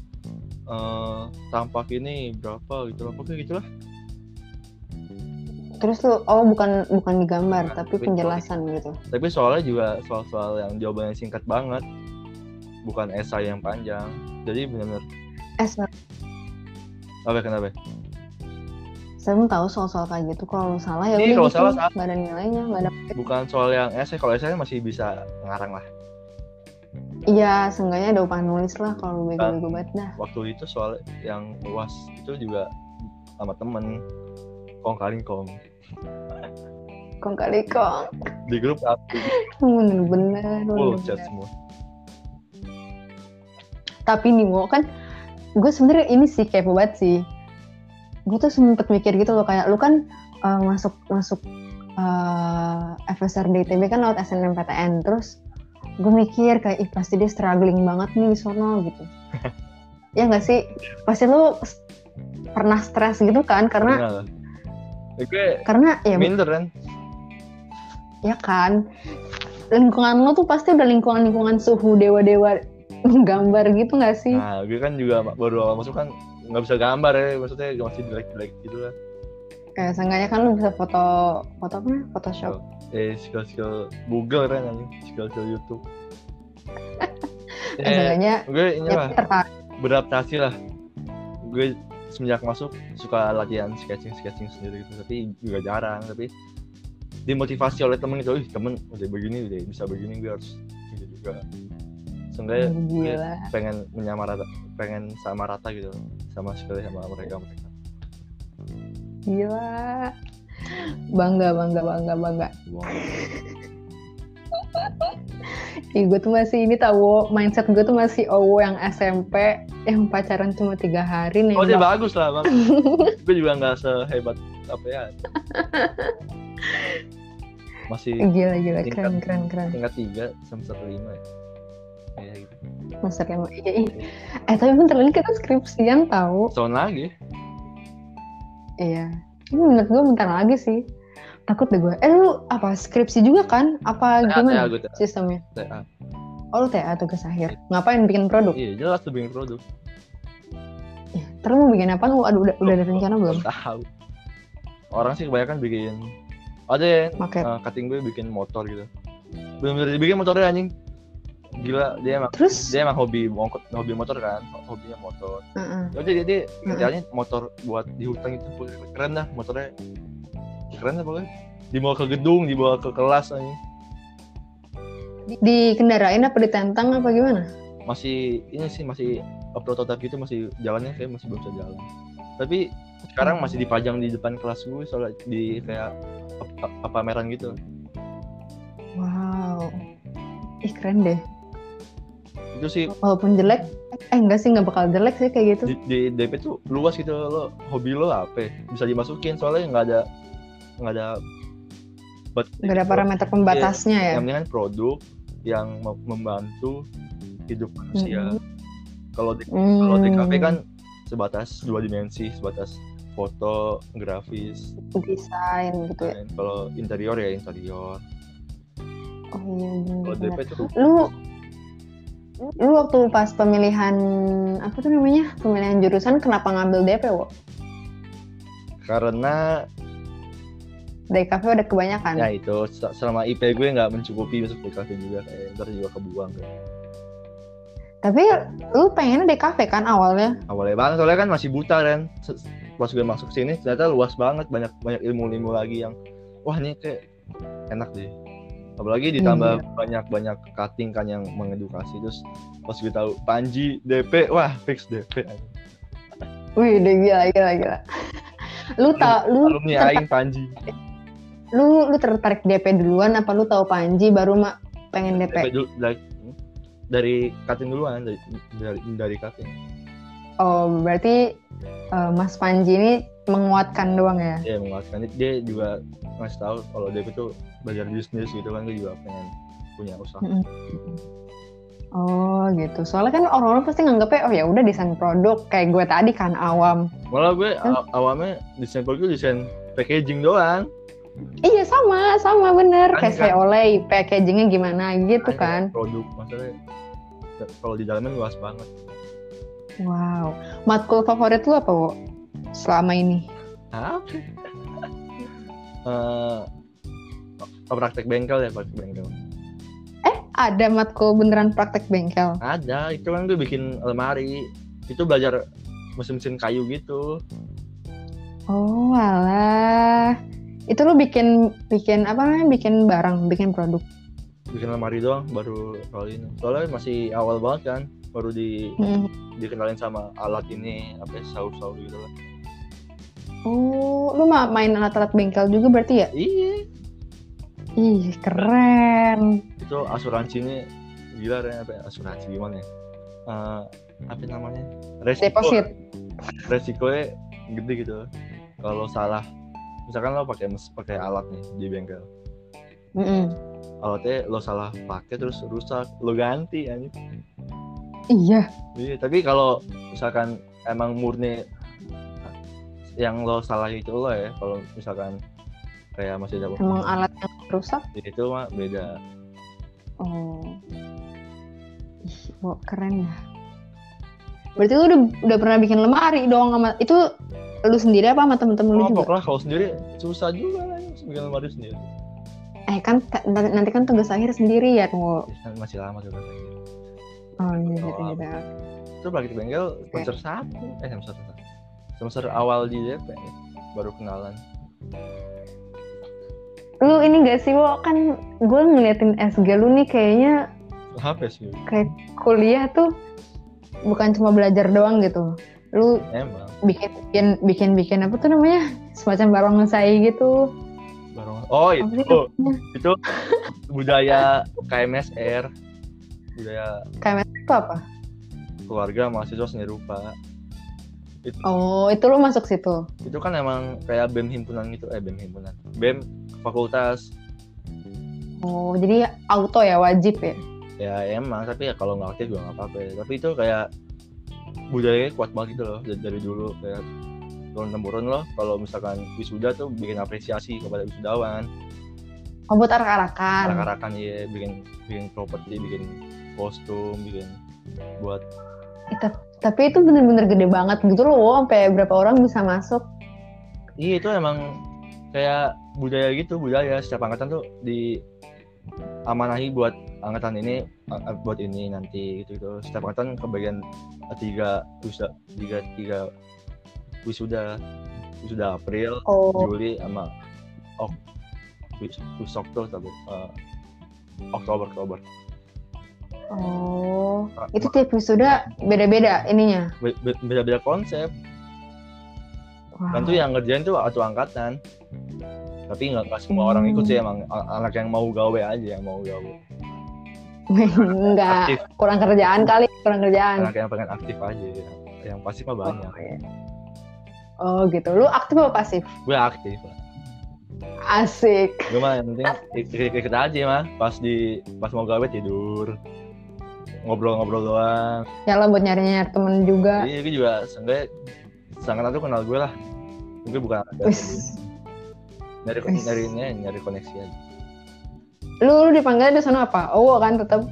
Speaker 3: eh tampak ini berapa gitu lah, pokoknya gitu lah.
Speaker 2: terus lu oh bukan bukan digambar
Speaker 3: Bukan,
Speaker 2: tapi
Speaker 3: tapi-
Speaker 2: penjelasan gitu
Speaker 3: Tapi soalnya juga soal-soal yang jawabannya singkat banget, bukan esai yang panjang. Jadi benar-benar
Speaker 2: eh saya
Speaker 3: apa kenapa?
Speaker 2: saya belum tahu soal-soal kayak gitu kalau salah ya
Speaker 3: Iya,
Speaker 2: udah
Speaker 3: kalau
Speaker 2: gitu
Speaker 3: salah, salah.
Speaker 2: nggak ada nilainya nggak ada
Speaker 3: Bukan soal yang esai, kalau esai kan masih bisa ngarang lah.
Speaker 2: iya seenggaknya ada upah nulis lah kalau lu
Speaker 3: Ah.
Speaker 2: bego-bego banget Nah, dah
Speaker 3: Waktu itu soal yang luas itu juga sama temen kong kaling kong
Speaker 2: kong kali kong
Speaker 3: di grup aku
Speaker 2: bener-bener
Speaker 3: full
Speaker 2: bener-bener.
Speaker 3: chat semua
Speaker 2: tapi nih Wo, kan gue sebenarnya ini sih kepo banget sih gue tuh sempet mikir gitu loh kayak lu kan uh, masuk masuk uh, FSR DITB kan lewat SNMPTN terus gue mikir kayak ih pasti dia struggling banget nih di sono gitu ya nggak sih pasti lu s- pernah stres gitu kan karena
Speaker 3: Pernah lah. Ya, gue
Speaker 2: karena ya
Speaker 3: minder kan
Speaker 2: ya kan lingkungan lu tuh pasti udah lingkungan lingkungan suhu dewa dewa menggambar gitu nggak sih
Speaker 3: nah gue kan juga ma- baru awal masuk kan nggak bisa gambar ya maksudnya masih jelek jelek gitu lah
Speaker 2: kayak seenggaknya kan lu bisa foto foto apa namanya? Photoshop
Speaker 3: eh skill skill Google kan anjing skill skill YouTube
Speaker 2: eh,
Speaker 3: eh,
Speaker 2: seenggaknya
Speaker 3: gue ini
Speaker 2: ya,
Speaker 3: lah
Speaker 2: tertarik
Speaker 3: beradaptasi lah gue semenjak masuk suka latihan sketching sketching sendiri gitu tapi juga jarang tapi dimotivasi oleh temen gitu ih temen udah begini udah bisa begini gue harus gitu juga seenggaknya
Speaker 2: gila
Speaker 3: pengen menyamar rata pengen sama rata gitu sama sekali sama mereka mereka
Speaker 2: gila bangga bangga bangga bangga
Speaker 3: wow.
Speaker 2: Ih, gue tuh masih ini tau Wo. mindset gue tuh masih owo yang SMP yang pacaran cuma tiga hari nih
Speaker 3: oh dia bagus lah bang gue juga nggak sehebat apa ya masih
Speaker 2: gila gila keren
Speaker 3: Tingkat-
Speaker 2: keren keren
Speaker 3: tingkat tiga semester lima ya Iya, gitu.
Speaker 2: master yang eh, eh tapi bentar lagi kita skripsian tahu
Speaker 3: tahun lagi
Speaker 2: iya ini menurut gue bentar lagi sih takut deh gue eh lu apa skripsi juga kan
Speaker 3: TA TA
Speaker 2: apa gimana
Speaker 3: Ah, gue TA
Speaker 2: sistemnya
Speaker 3: TA
Speaker 2: oh lu TA tugas akhir ngapain bikin produk
Speaker 3: iya jelas tuh bikin produk
Speaker 2: terus Ya, mau bikin apa lu aduh udah, udah ada rencana belum
Speaker 3: tahu orang sih kebanyakan bikin ada ya
Speaker 2: Pakai.
Speaker 3: eh, cutting gue bikin motor gitu belum bener dibikin motornya anjing gila dia emang
Speaker 2: terus
Speaker 3: dia emang hobi mongkot hobi motor kan hobinya motor Ya
Speaker 2: Heeh.
Speaker 3: jadi jadi
Speaker 2: Hmm.
Speaker 3: kerjanya motor buat di hutan itu keren dah motornya keren dah pokoknya dibawa ke gedung dibawa ke kelas anjing
Speaker 2: Di- dikendarain apa ditentang apa gimana
Speaker 3: masih ini sih masih prototipe gitu masih jalannya kayak masih belum bisa jalan tapi sekarang masih dipajang di depan kelas gue soalnya di kayak apa- apa- pameran gitu
Speaker 2: wow ih keren deh
Speaker 3: itu sih
Speaker 2: walaupun jelek eh enggak sih nggak bakal jelek sih kayak gitu
Speaker 3: di, di DP tuh luas gitu lo hobi lo apa ya, bisa dimasukin soalnya nggak ada nggak ada but-
Speaker 2: nggak ada parameter pembatasnya ya
Speaker 3: yang penting kan produk yang mem- membantu hidup manusia.
Speaker 2: Mhm.
Speaker 3: Kalau di
Speaker 2: Hmm.
Speaker 3: kalau DKV kan sebatas dua dimensi, sebatas foto, grafis.
Speaker 2: desain gitu ya
Speaker 3: dan Kalau interior ya interior.
Speaker 2: oh iya
Speaker 3: Kalau
Speaker 2: bener
Speaker 3: DP tuh
Speaker 2: lu lu waktu pas pemilihan apa tuh namanya pemilihan jurusan kenapa ngambil DP wo
Speaker 3: karena
Speaker 2: Dari kafe udah kebanyakan.
Speaker 3: ya itu se- selama IP gue nggak mencukupi untuk DKV juga kayak ntar juga kebuang kayak.
Speaker 2: Tapi lu pengen dari kafe kan awalnya?
Speaker 3: awalnya banget soalnya kan masih buta kan Se- se- pas gue masuk sini ternyata luas banget banyak banyak ilmu ilmu lagi yang wah ini kayak enak deh apalagi ditambah banyak banyak cutting kan yang mengedukasi terus pas gue tahu Panji DP wah fix DP
Speaker 2: Wih, udah gila gila gila. Lu tau lu
Speaker 3: Iya, alumni
Speaker 2: tertarik-
Speaker 3: Aing Panji
Speaker 2: lu lu tertarik DP duluan apa lu tahu Panji baru mak pengen
Speaker 3: DP
Speaker 2: DP?
Speaker 3: dulu dari, dari cutting duluan dari dari, dari cutting
Speaker 2: Oh, berarti eh, Mas Panji ini menguatkan doang ya.
Speaker 3: dia menguatkan dia juga ngasih tahu kalau dia itu belajar bisnis gitu kan gue juga pengen punya usaha
Speaker 2: Mm. Oh, gitu. Soalnya kan orang-orang pasti nganggapnya oh ya udah desain produk kayak gue tadi kan awam.
Speaker 3: malah gue
Speaker 2: Hmm.
Speaker 3: aw- awalnya desain produk gue desain packaging doang
Speaker 2: Iya sama, sama bener.
Speaker 3: Kan,
Speaker 2: Kayak
Speaker 3: kan.
Speaker 2: saya oleh packagingnya gimana gitu
Speaker 3: Makanya
Speaker 2: kan.
Speaker 3: produk maksudnya t- kalau di dalamnya luas banget
Speaker 2: Wow. Matkul favorit lu apa, Wo? Selama ini.
Speaker 3: apa Eh, oh, praktek bengkel ya praktek bengkel
Speaker 2: Eh, ada matkul beneran praktek bengkel.
Speaker 3: ada itu kan gue bikin lemari itu belajar mesin-mesin kayu gitu
Speaker 2: Oh, alah. Itu lu bikin bikin apa namanya? Bikin barang, bikin produk.
Speaker 3: bikin lemari doang baru kali ini soalnya masih awal banget kan baru di
Speaker 2: Hmm.
Speaker 3: dikenalin sama alat ini apa ya, saur-saur gitu kan
Speaker 2: Oh, lu ma- main alat-alat bengkel juga berarti ya?
Speaker 3: iya
Speaker 2: Ih, keren.
Speaker 3: itu asuransinya gila Ren. apa ya, asuransi gimana ya Eh, apa namanya resiko
Speaker 2: Deposit.
Speaker 3: resikonya gede gitu kalau salah misalkan lo pakai mes- pakai alat nih di bengkel
Speaker 2: Mm-mm.
Speaker 3: alatnya lo salah pakai terus rusak lo ganti anjing
Speaker 2: Iya.
Speaker 3: Iya, tapi kalau misalkan emang murni yang lo salah itu lo ya, kalau misalkan kayak masih dapat
Speaker 2: Emang alat yang rusak
Speaker 3: itu mah beda.
Speaker 2: Oh. Ih, wow, keren ya. Berarti lu udah, udah pernah bikin lemari dong sama itu lu sendiri apa sama temen-temen lu
Speaker 3: Kelompok
Speaker 2: juga?
Speaker 3: lah kalau sendiri susah juga lah ya, bikin lemari sendiri.
Speaker 2: Eh kan ta- nanti nanti kan tugas akhir sendiri ya tuh.
Speaker 3: Ya, kan masih lama tuh rasanya.
Speaker 2: Oh iya
Speaker 3: Oh,
Speaker 2: gitu gitu.
Speaker 3: Itu praktik bengkel semester satu, eh semester satu. Semester awal di DP ya, baru kenalan.
Speaker 2: Lu ini gak sih wo kan gue ngeliatin SG lu nih kayaknya
Speaker 3: HP sih,
Speaker 2: kayak kuliah tuh bukan cuma belajar doang gitu. Lu
Speaker 3: emang.
Speaker 2: bikin bikin bikin bikin apa tuh namanya semacam barongsai gitu.
Speaker 3: Baru oh
Speaker 2: Apa sih
Speaker 3: itu
Speaker 2: namanya?
Speaker 3: itu budaya KMSR budaya
Speaker 2: Kayak itu apa?
Speaker 3: keluarga mahasiswa seni rupa
Speaker 2: Oh itu lu masuk situ.
Speaker 3: itu kan emang kayak bem himpunan gitu eh bem himpunan bem fakultas
Speaker 2: Oh jadi auto ya wajib ya?
Speaker 3: ya emang tapi ya kalau nggak aktif juga nggak apa-apa ya. tapi itu kayak budayanya kuat banget gitu loh dari, dari dulu kayak turun temurun loh kalau misalkan wisuda tuh bikin apresiasi kepada wisudawan
Speaker 2: Oh, buat arak-arakan.
Speaker 3: arak-arakan ya bikin bikin properti bikin kostum bikin buat
Speaker 2: Eh, tap- tapi itu bener-bener gede banget gitu loh, Wo. sampai berapa orang bisa masuk.
Speaker 3: iya itu emang kayak budaya gitu budaya setiap angkatan tuh di amanahi buat angkatan ini a- a- buat ini nanti gitu gitu setiap angkatan kebagian tiga wisuda tiga tiga wisuda wisuda April
Speaker 2: Oh,
Speaker 3: Juli sama Ok wis- Wisokto tapi eh, Oktober Oktober
Speaker 2: oh. Itu tiap wisuda beda-beda ininya.
Speaker 3: Be- be- beda-beda konsep
Speaker 2: Wah.
Speaker 3: kan tuh yang ngerjain tuh satu angkatan tapi nggak nggak semua orang ikut sih emang a- anak yang mau gawe aja yang mau gawe
Speaker 2: Enggak, Ya,
Speaker 3: aktif
Speaker 2: kurang kerjaan kali, kurang kerjaan.
Speaker 3: anak yang pengen aktif aja yang, yang pasif mah banyak
Speaker 2: kan. Oh, iya. Oh, gitu. Lu aktif apa pasif?
Speaker 3: gue aktif lah
Speaker 2: Asik.
Speaker 3: gue mah yang penting
Speaker 2: Ah.
Speaker 3: ik- ik- ikut aja mah pas di pas mau gawe tidur ngobrol-ngobrol doang
Speaker 2: Ya lah buat nyari-nyari temen juga.
Speaker 3: jadi gue juga seenggaknya sangat tuh kenal gue lah gue bukan anak gawe.
Speaker 2: Wis.
Speaker 3: nyari
Speaker 2: Wis.
Speaker 3: nyari nyari, nyari koneksi aja
Speaker 2: Lu, lu dipanggil di sana apa? Oh, kan tetap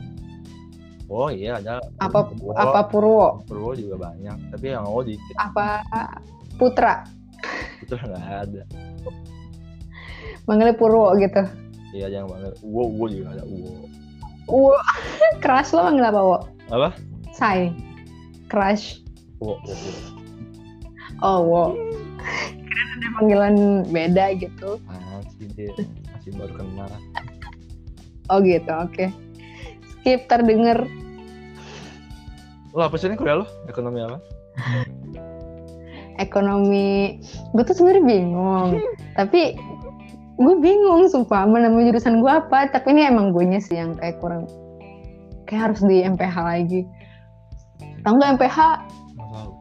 Speaker 3: oh iya ada
Speaker 2: apa
Speaker 3: Purwo.
Speaker 2: apa Purwo,
Speaker 3: Purwo juga banyak tapi yang mau dikit
Speaker 2: apa Putra.
Speaker 3: itu nggak ada
Speaker 2: Manggilnya Purwo gitu.
Speaker 3: iya yang banget wow wow juga nggak ada wow
Speaker 2: Wo. Crush lo manggil apa, Wo?
Speaker 3: Apa?
Speaker 2: Say. Crush.
Speaker 3: wow, wow, wow.
Speaker 2: Oh, Wo. Karena ada panggilan beda gitu.
Speaker 3: Apaan sih dia masih baru kenal
Speaker 2: Oh gitu, oke. Skip terdengar.
Speaker 3: lo apa sih ini kuliah lo ekonomi apa
Speaker 2: ekonomi gue tuh sebenarnya bingung
Speaker 3: Hmm.
Speaker 2: tapi gue bingung sumpah mau nama jurusan gue apa tapi ini emang gue sih yang kayak kurang kayak harus di MPH lagi tau nggak MPH
Speaker 3: nggak tahu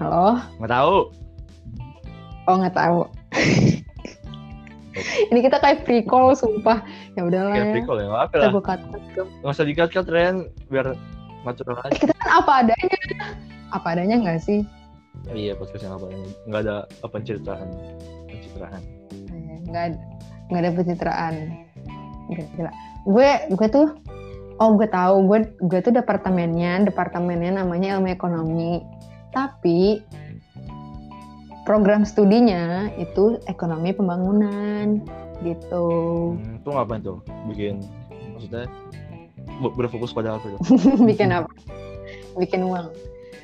Speaker 2: halo
Speaker 3: nggak tahu
Speaker 2: oh nggak tahu ini kita kayak free call sumpah ya udahlah
Speaker 3: kayak
Speaker 2: ya
Speaker 3: pikol ya apa
Speaker 2: kita
Speaker 3: lah
Speaker 2: gue cut cut dong.
Speaker 3: nggak usah dikat kat Ren biar natural aja
Speaker 2: eh, kita kan apa adanya apa adanya nggak sih
Speaker 3: iya podcast yang apa ini nggak ada apa pencitraan pencitraan
Speaker 2: Iya, nggak ada- nggak ada pencitraan Gila, gila. gue gue tuh oh gue tahu gue gue tuh departemennya departemennya namanya ilmu ekonomi tapi program studinya itu ekonomi pembangunan gitu
Speaker 3: hmm, tuh ngapain tuh bikin maksudnya bu- berfokus pada apa tuh
Speaker 2: bikin apa bikin uang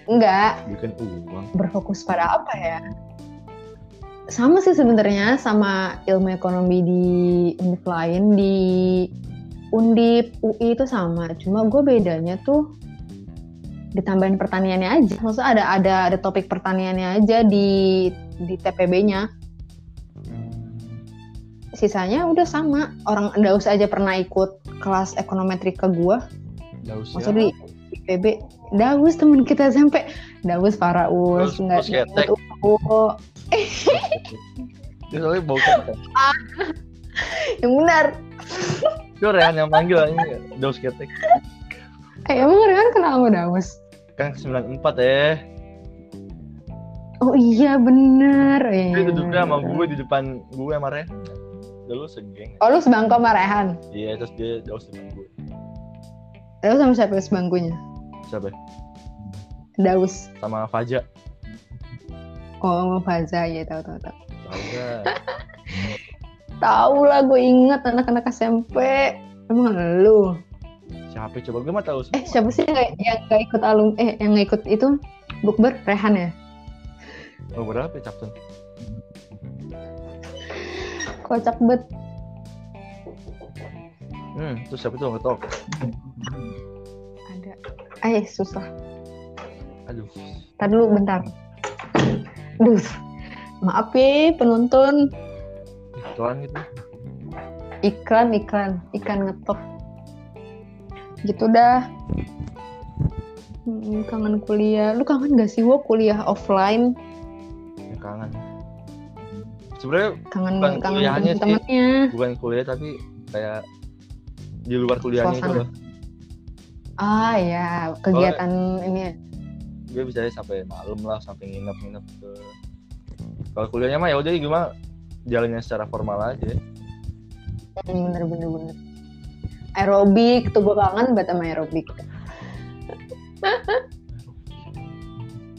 Speaker 2: enggak
Speaker 3: bikin uang
Speaker 2: berfokus pada apa ya sama sih sebenarnya sama ilmu ekonomi di univ lain di undip UI itu sama cuma gue bedanya tuh ditambahin pertaniannya aja maksudnya ada ada ada topik pertaniannya aja di di TPB-nya
Speaker 3: Hmm.
Speaker 2: sisanya udah sama orang enggak usah aja pernah ikut kelas ekonometri ke gue
Speaker 3: nggak usah
Speaker 2: Maksudnya IPB Daus temen kita sampai Daus para us
Speaker 3: Terus-
Speaker 2: nggak
Speaker 3: terus ketek.
Speaker 2: ikut UO.
Speaker 3: dia soalnya bau ketek
Speaker 2: yang Ya benar
Speaker 3: itu Rehan yang manggil ini dos ketek
Speaker 2: eh emang Rehan kenal sama Daus
Speaker 3: kan 94 eh
Speaker 2: oh iya bener oh, iya,
Speaker 3: dia
Speaker 2: iya,
Speaker 3: duduknya sama
Speaker 2: bener.
Speaker 3: gue di depan gue sama Rehan dulu segeng
Speaker 2: oh lu sebangku sama Rehan
Speaker 3: iya terus dia jauh sama gue
Speaker 2: Daus sama siapa sebangkunya
Speaker 3: siapa
Speaker 2: Daus
Speaker 3: sama Faja
Speaker 2: oh sama Faza ya tahu tahu tahu
Speaker 3: tahu nggak?
Speaker 2: tahu lah gue inget anak-anak SMP emang lu
Speaker 3: siapa coba gue mah tahu
Speaker 2: eh siapa sih yang nggak- yang nggak ikut alum eh yang nggak ikut itu bukber Rehan ya
Speaker 3: oh, berapa ya, Captain
Speaker 2: kocak bet
Speaker 3: hmm terus siapa tuh nggak tahu
Speaker 2: ada eh susah
Speaker 3: aduh
Speaker 2: Ntar dulu bentar. Duh, maaf ya penonton.
Speaker 3: iklan gitu
Speaker 2: Iklan, iklan, iklan ngetop. Gitu dah. Hmm, kangen kuliah. Lu kangen gak sih, Wo, kuliah offline?
Speaker 3: ya, kangen sebenarnya
Speaker 2: Kangen
Speaker 3: Bukan
Speaker 2: kangen
Speaker 3: kuliahnya sih.
Speaker 2: temen-temennya.
Speaker 3: bukan kuliah tapi kayak di luar kuliahnya itu
Speaker 2: Suasana.
Speaker 3: loh
Speaker 2: Ah ya, kegiatan ini ya.
Speaker 3: gue bisa aja sampai malam lah sampai nginep-nginep ke kalau kuliahnya mah ya udah gue mah jalannya secara formal aja
Speaker 2: Hmm, Bener, bener, bener. Aerobik, tuh gue kangen banget sama aerobik.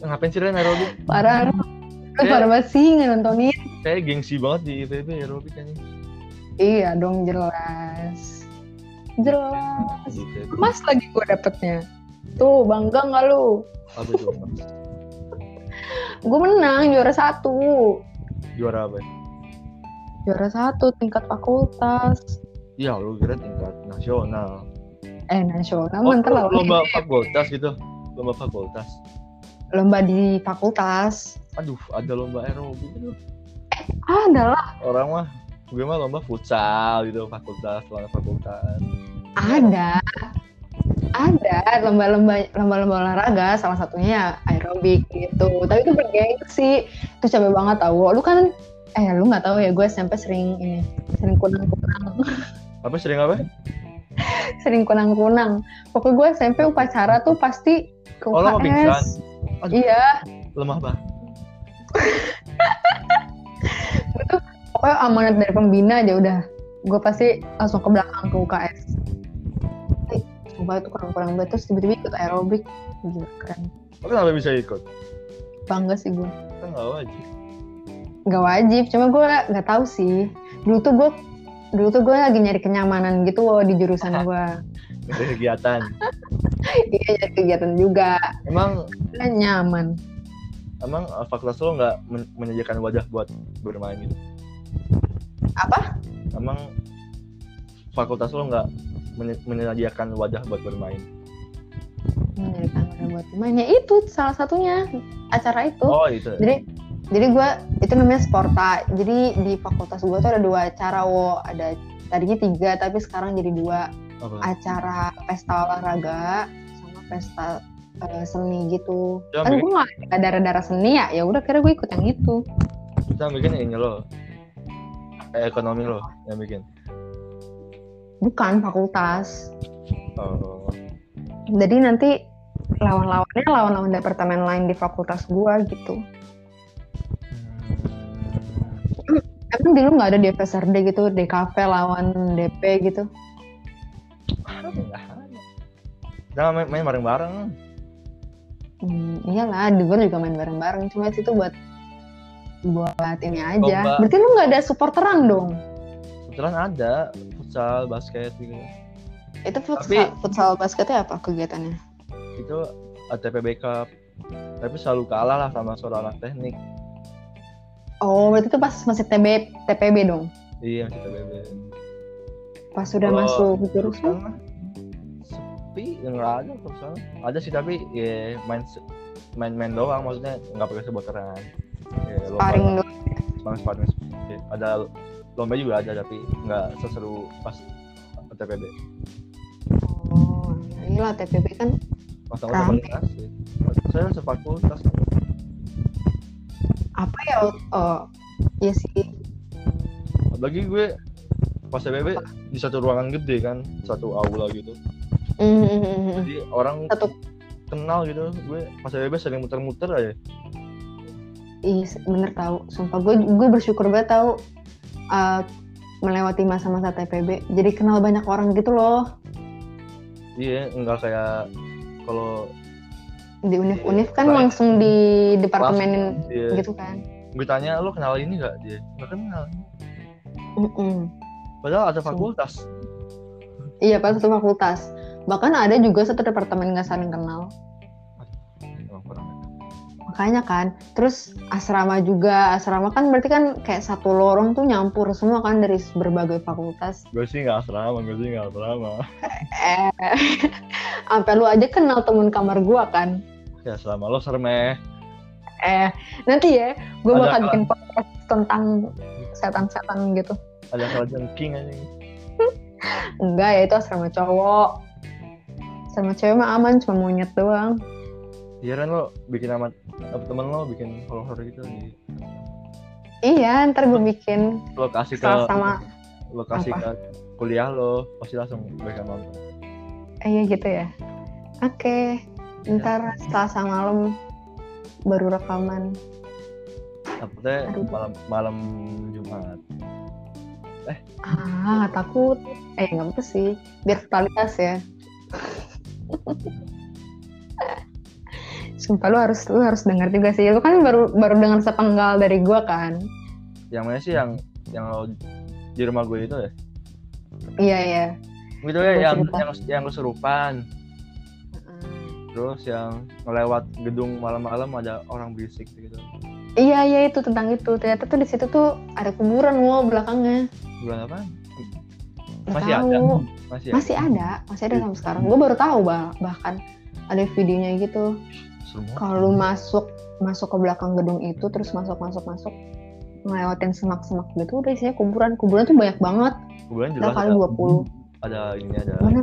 Speaker 3: ngapain sih Ren aerobik?
Speaker 2: Parah,
Speaker 3: Hmm.
Speaker 2: Lu
Speaker 3: Kayak-
Speaker 2: parah banget sih nggak nontonin.
Speaker 3: Kayak gengsi banget di IPB aerobik anjing.
Speaker 2: Iya dong, jelas. Jelas.
Speaker 3: Di IPB.
Speaker 2: Mas lagi gue dapetnya. Tuh bangga nggak lu?
Speaker 3: Apa itu?
Speaker 2: Gue menang juara satu.
Speaker 3: Juara apa? ya?
Speaker 2: Juara satu tingkat fakultas.
Speaker 3: Ya lu kira tingkat nasional.
Speaker 2: Eh nasional oh,
Speaker 3: lu
Speaker 2: lah.
Speaker 3: lomba fakultas gitu. Lomba fakultas.
Speaker 2: Lomba di fakultas.
Speaker 3: Aduh, ada lomba aerobik gitu.
Speaker 2: Ah, ada lah.
Speaker 3: Orang mah gue mah lomba futsal gitu fakultas lomba fakultas
Speaker 2: Ada. Ada lomba-lomba lomba-lomba olahraga salah satunya ya aerobik gitu. Tapi itu bergengsi. Itu capek banget tau. Lu kan eh lu nggak tahu ya gue SMP sering ini sering kunang-kunang
Speaker 3: apa sering apa
Speaker 2: sering kunang-kunang pokoknya gue SMP upacara tuh pasti ke
Speaker 3: Oh, lo mau pingsan?
Speaker 2: UKS
Speaker 3: Aduh.
Speaker 2: iya
Speaker 3: lemah banget
Speaker 2: pokoknya amanat dari pembina aja udah gue pasti langsung ke belakang ke UKS Eh, sumpah itu kurang-kurang banget terus tiba-tiba ikut aerobik gila keren
Speaker 3: Lo kenapa bisa ikut
Speaker 2: bangga sih gue
Speaker 3: kan nggak wajib
Speaker 2: nggak wajib cuma gue nggak tahu sih dulu tuh gue dulu tuh gue lagi nyari kenyamanan gitu loh di jurusan gue
Speaker 3: itu kegiatan
Speaker 2: iya nyari kegiatan juga
Speaker 3: emang
Speaker 2: Kan nyaman
Speaker 3: emang eh, fakultas lo nggak men- menyediakan wadah buat bermain gitu
Speaker 2: apa
Speaker 3: emang fakultas lo nggak menye- menyediakan wadah buat bermain
Speaker 2: nyari kenyamanan buat temannya itu salah satunya acara itu
Speaker 3: oh itu
Speaker 2: jadi jadi gue itu namanya sporta jadi di fakultas gue tuh ada dua acara wo ada tadinya tiga tapi sekarang jadi dua
Speaker 3: apa
Speaker 2: acara pesta olahraga sama pesta eh, seni gitu
Speaker 3: Coba
Speaker 2: kan
Speaker 3: bikin-
Speaker 2: gue gak ada darah-darah seni ya ya udah kira gue ikut yang itu
Speaker 3: kita bikin ini lo eh, ekonomi lo yang bikin
Speaker 2: bukan fakultas
Speaker 3: oh
Speaker 2: jadi nanti lawan-lawannya lawan-lawan departemen lain di fakultas gue gitu emang dulu nggak ada di FSRD gitu DKV lawan DP gitu
Speaker 3: Nah, main, main bareng-bareng.
Speaker 2: Hmm, iyalah, di gue juga main bareng-bareng. Cuma itu buat buat ini aja.
Speaker 3: Lomba.
Speaker 2: Berarti lu nggak ada supporteran dong?
Speaker 3: Kebetulan ada futsal, basket gitu.
Speaker 2: Itu futsal,
Speaker 3: Tapi-
Speaker 2: futsal basketnya apa kegiatannya?
Speaker 3: Itu ATPB Cup. Tapi selalu kalah lah sama seorang anak teknik.
Speaker 2: Oh, berarti itu pas masih TB, TPB dong?
Speaker 3: Iya, masih TPB.
Speaker 2: Pas sudah
Speaker 3: Kalau ya
Speaker 2: masuk kan?
Speaker 3: Jurusan
Speaker 2: jurusan?
Speaker 3: lah. Sepi, ya nggak ada jurusan. Ada sih tapi ya main se- main-main doang maksudnya nggak pakai sebutan. Ya, lomba-
Speaker 2: Paring dulu.
Speaker 3: Sparring, sparring. Ya, Ada lomba juga ada tapi nggak seseru pas ATPB.
Speaker 2: Oh, iyalah TPB kan.
Speaker 3: Pas sama komunitas. ya. Saya sefakultas.
Speaker 2: Apa ya? Oh, iya sih.
Speaker 3: Apalagi gue pas PBB di satu ruangan gede kan, satu aula gitu.
Speaker 2: Mm,
Speaker 3: Jadi orang
Speaker 2: Satu,
Speaker 3: kenal gitu. Gue pas PBB sering muter-muter aja.
Speaker 2: iya bener tahu. Sumpah gue gue bersyukur banget tahu uh, melewati masa-masa TPB. Jadi kenal banyak orang gitu loh.
Speaker 3: Iya, enggak kayak kalau
Speaker 2: di univ-univ kan
Speaker 3: Baik.
Speaker 2: langsung di
Speaker 3: kelas
Speaker 2: departemenin
Speaker 3: dia,
Speaker 2: gitu kan
Speaker 3: gue tanya lo kenal ini enggak dia? Enggak kenal.
Speaker 2: Mm-mm.
Speaker 3: Padahal ada
Speaker 2: Sumpah.
Speaker 3: fakultas.
Speaker 2: iya pas satu fakultas bahkan ada juga satu departemen nggak saling kenal
Speaker 3: Emang kurang.
Speaker 2: makanya kan terus asrama juga asrama kan berarti kan kayak satu lorong tuh nyampur semua kan dari berbagai fakultas
Speaker 3: Gue sih enggak asrama, gue sih enggak asrama.
Speaker 2: eh sampai lu aja kenal temen kamar gua kan
Speaker 3: Ya asrama lo sermeh.
Speaker 2: eh nanti ya gua
Speaker 3: Ada
Speaker 2: bakal
Speaker 3: apa?
Speaker 2: bikin podcast tentang setan-setan gitu
Speaker 3: Ada kalau jengking aja.
Speaker 2: enggak ya itu asrama cowok sama cewek mah aman cuma monyet doang
Speaker 3: Iya kan lo bikin amat apa temen lo bikin horor gitu di
Speaker 2: Iya, ntar gue bikin
Speaker 3: lo kasih ke
Speaker 2: Kesal sama-
Speaker 3: lo kasih ke kuliah lo pasti langsung mereka nonton
Speaker 2: eh, iya gitu ya. Oke,
Speaker 3: Iya.
Speaker 2: ntar Selasa malam baru rekaman.
Speaker 3: takutnya
Speaker 2: Aduh.
Speaker 3: malam malam Jumat
Speaker 2: Ah, takut. Eh, nggak apa sih. Biar totalitas ya. Sumpah lu harus lu harus dengar juga sih. Lu kan baru baru dengar sepenggal dari gua kan.
Speaker 3: yang mana sih yang yang lo di rumah gue itu ya
Speaker 2: Iya iya.
Speaker 3: gitu ya
Speaker 2: Gue
Speaker 3: yang
Speaker 2: cerita.
Speaker 3: yang yang kesurupan terus yang ngelewat gedung malam-malam ada orang berisik gitu
Speaker 2: Iya iya itu tentang itu. Ternyata tuh di situ tuh ada kuburan wow belakangnya.
Speaker 3: bulan apa
Speaker 2: Nggak
Speaker 3: Masih ada?
Speaker 2: tahu.
Speaker 3: masih ya?
Speaker 2: Masih ada, masih ada sampai sekarang. Gue baru tahu bah- bahkan ada videonya gitu.
Speaker 3: semua
Speaker 2: Kalau lu masuk masuk ke belakang gedung itu terus masuk masuk masuk ngelewatin semak-semak gitu udah isinya kuburan. Kuburan tuh banyak banget.
Speaker 3: bulan
Speaker 2: Udah
Speaker 3: jelas
Speaker 2: kali
Speaker 3: ada,
Speaker 2: 20.
Speaker 3: ada ini ada
Speaker 2: Mana?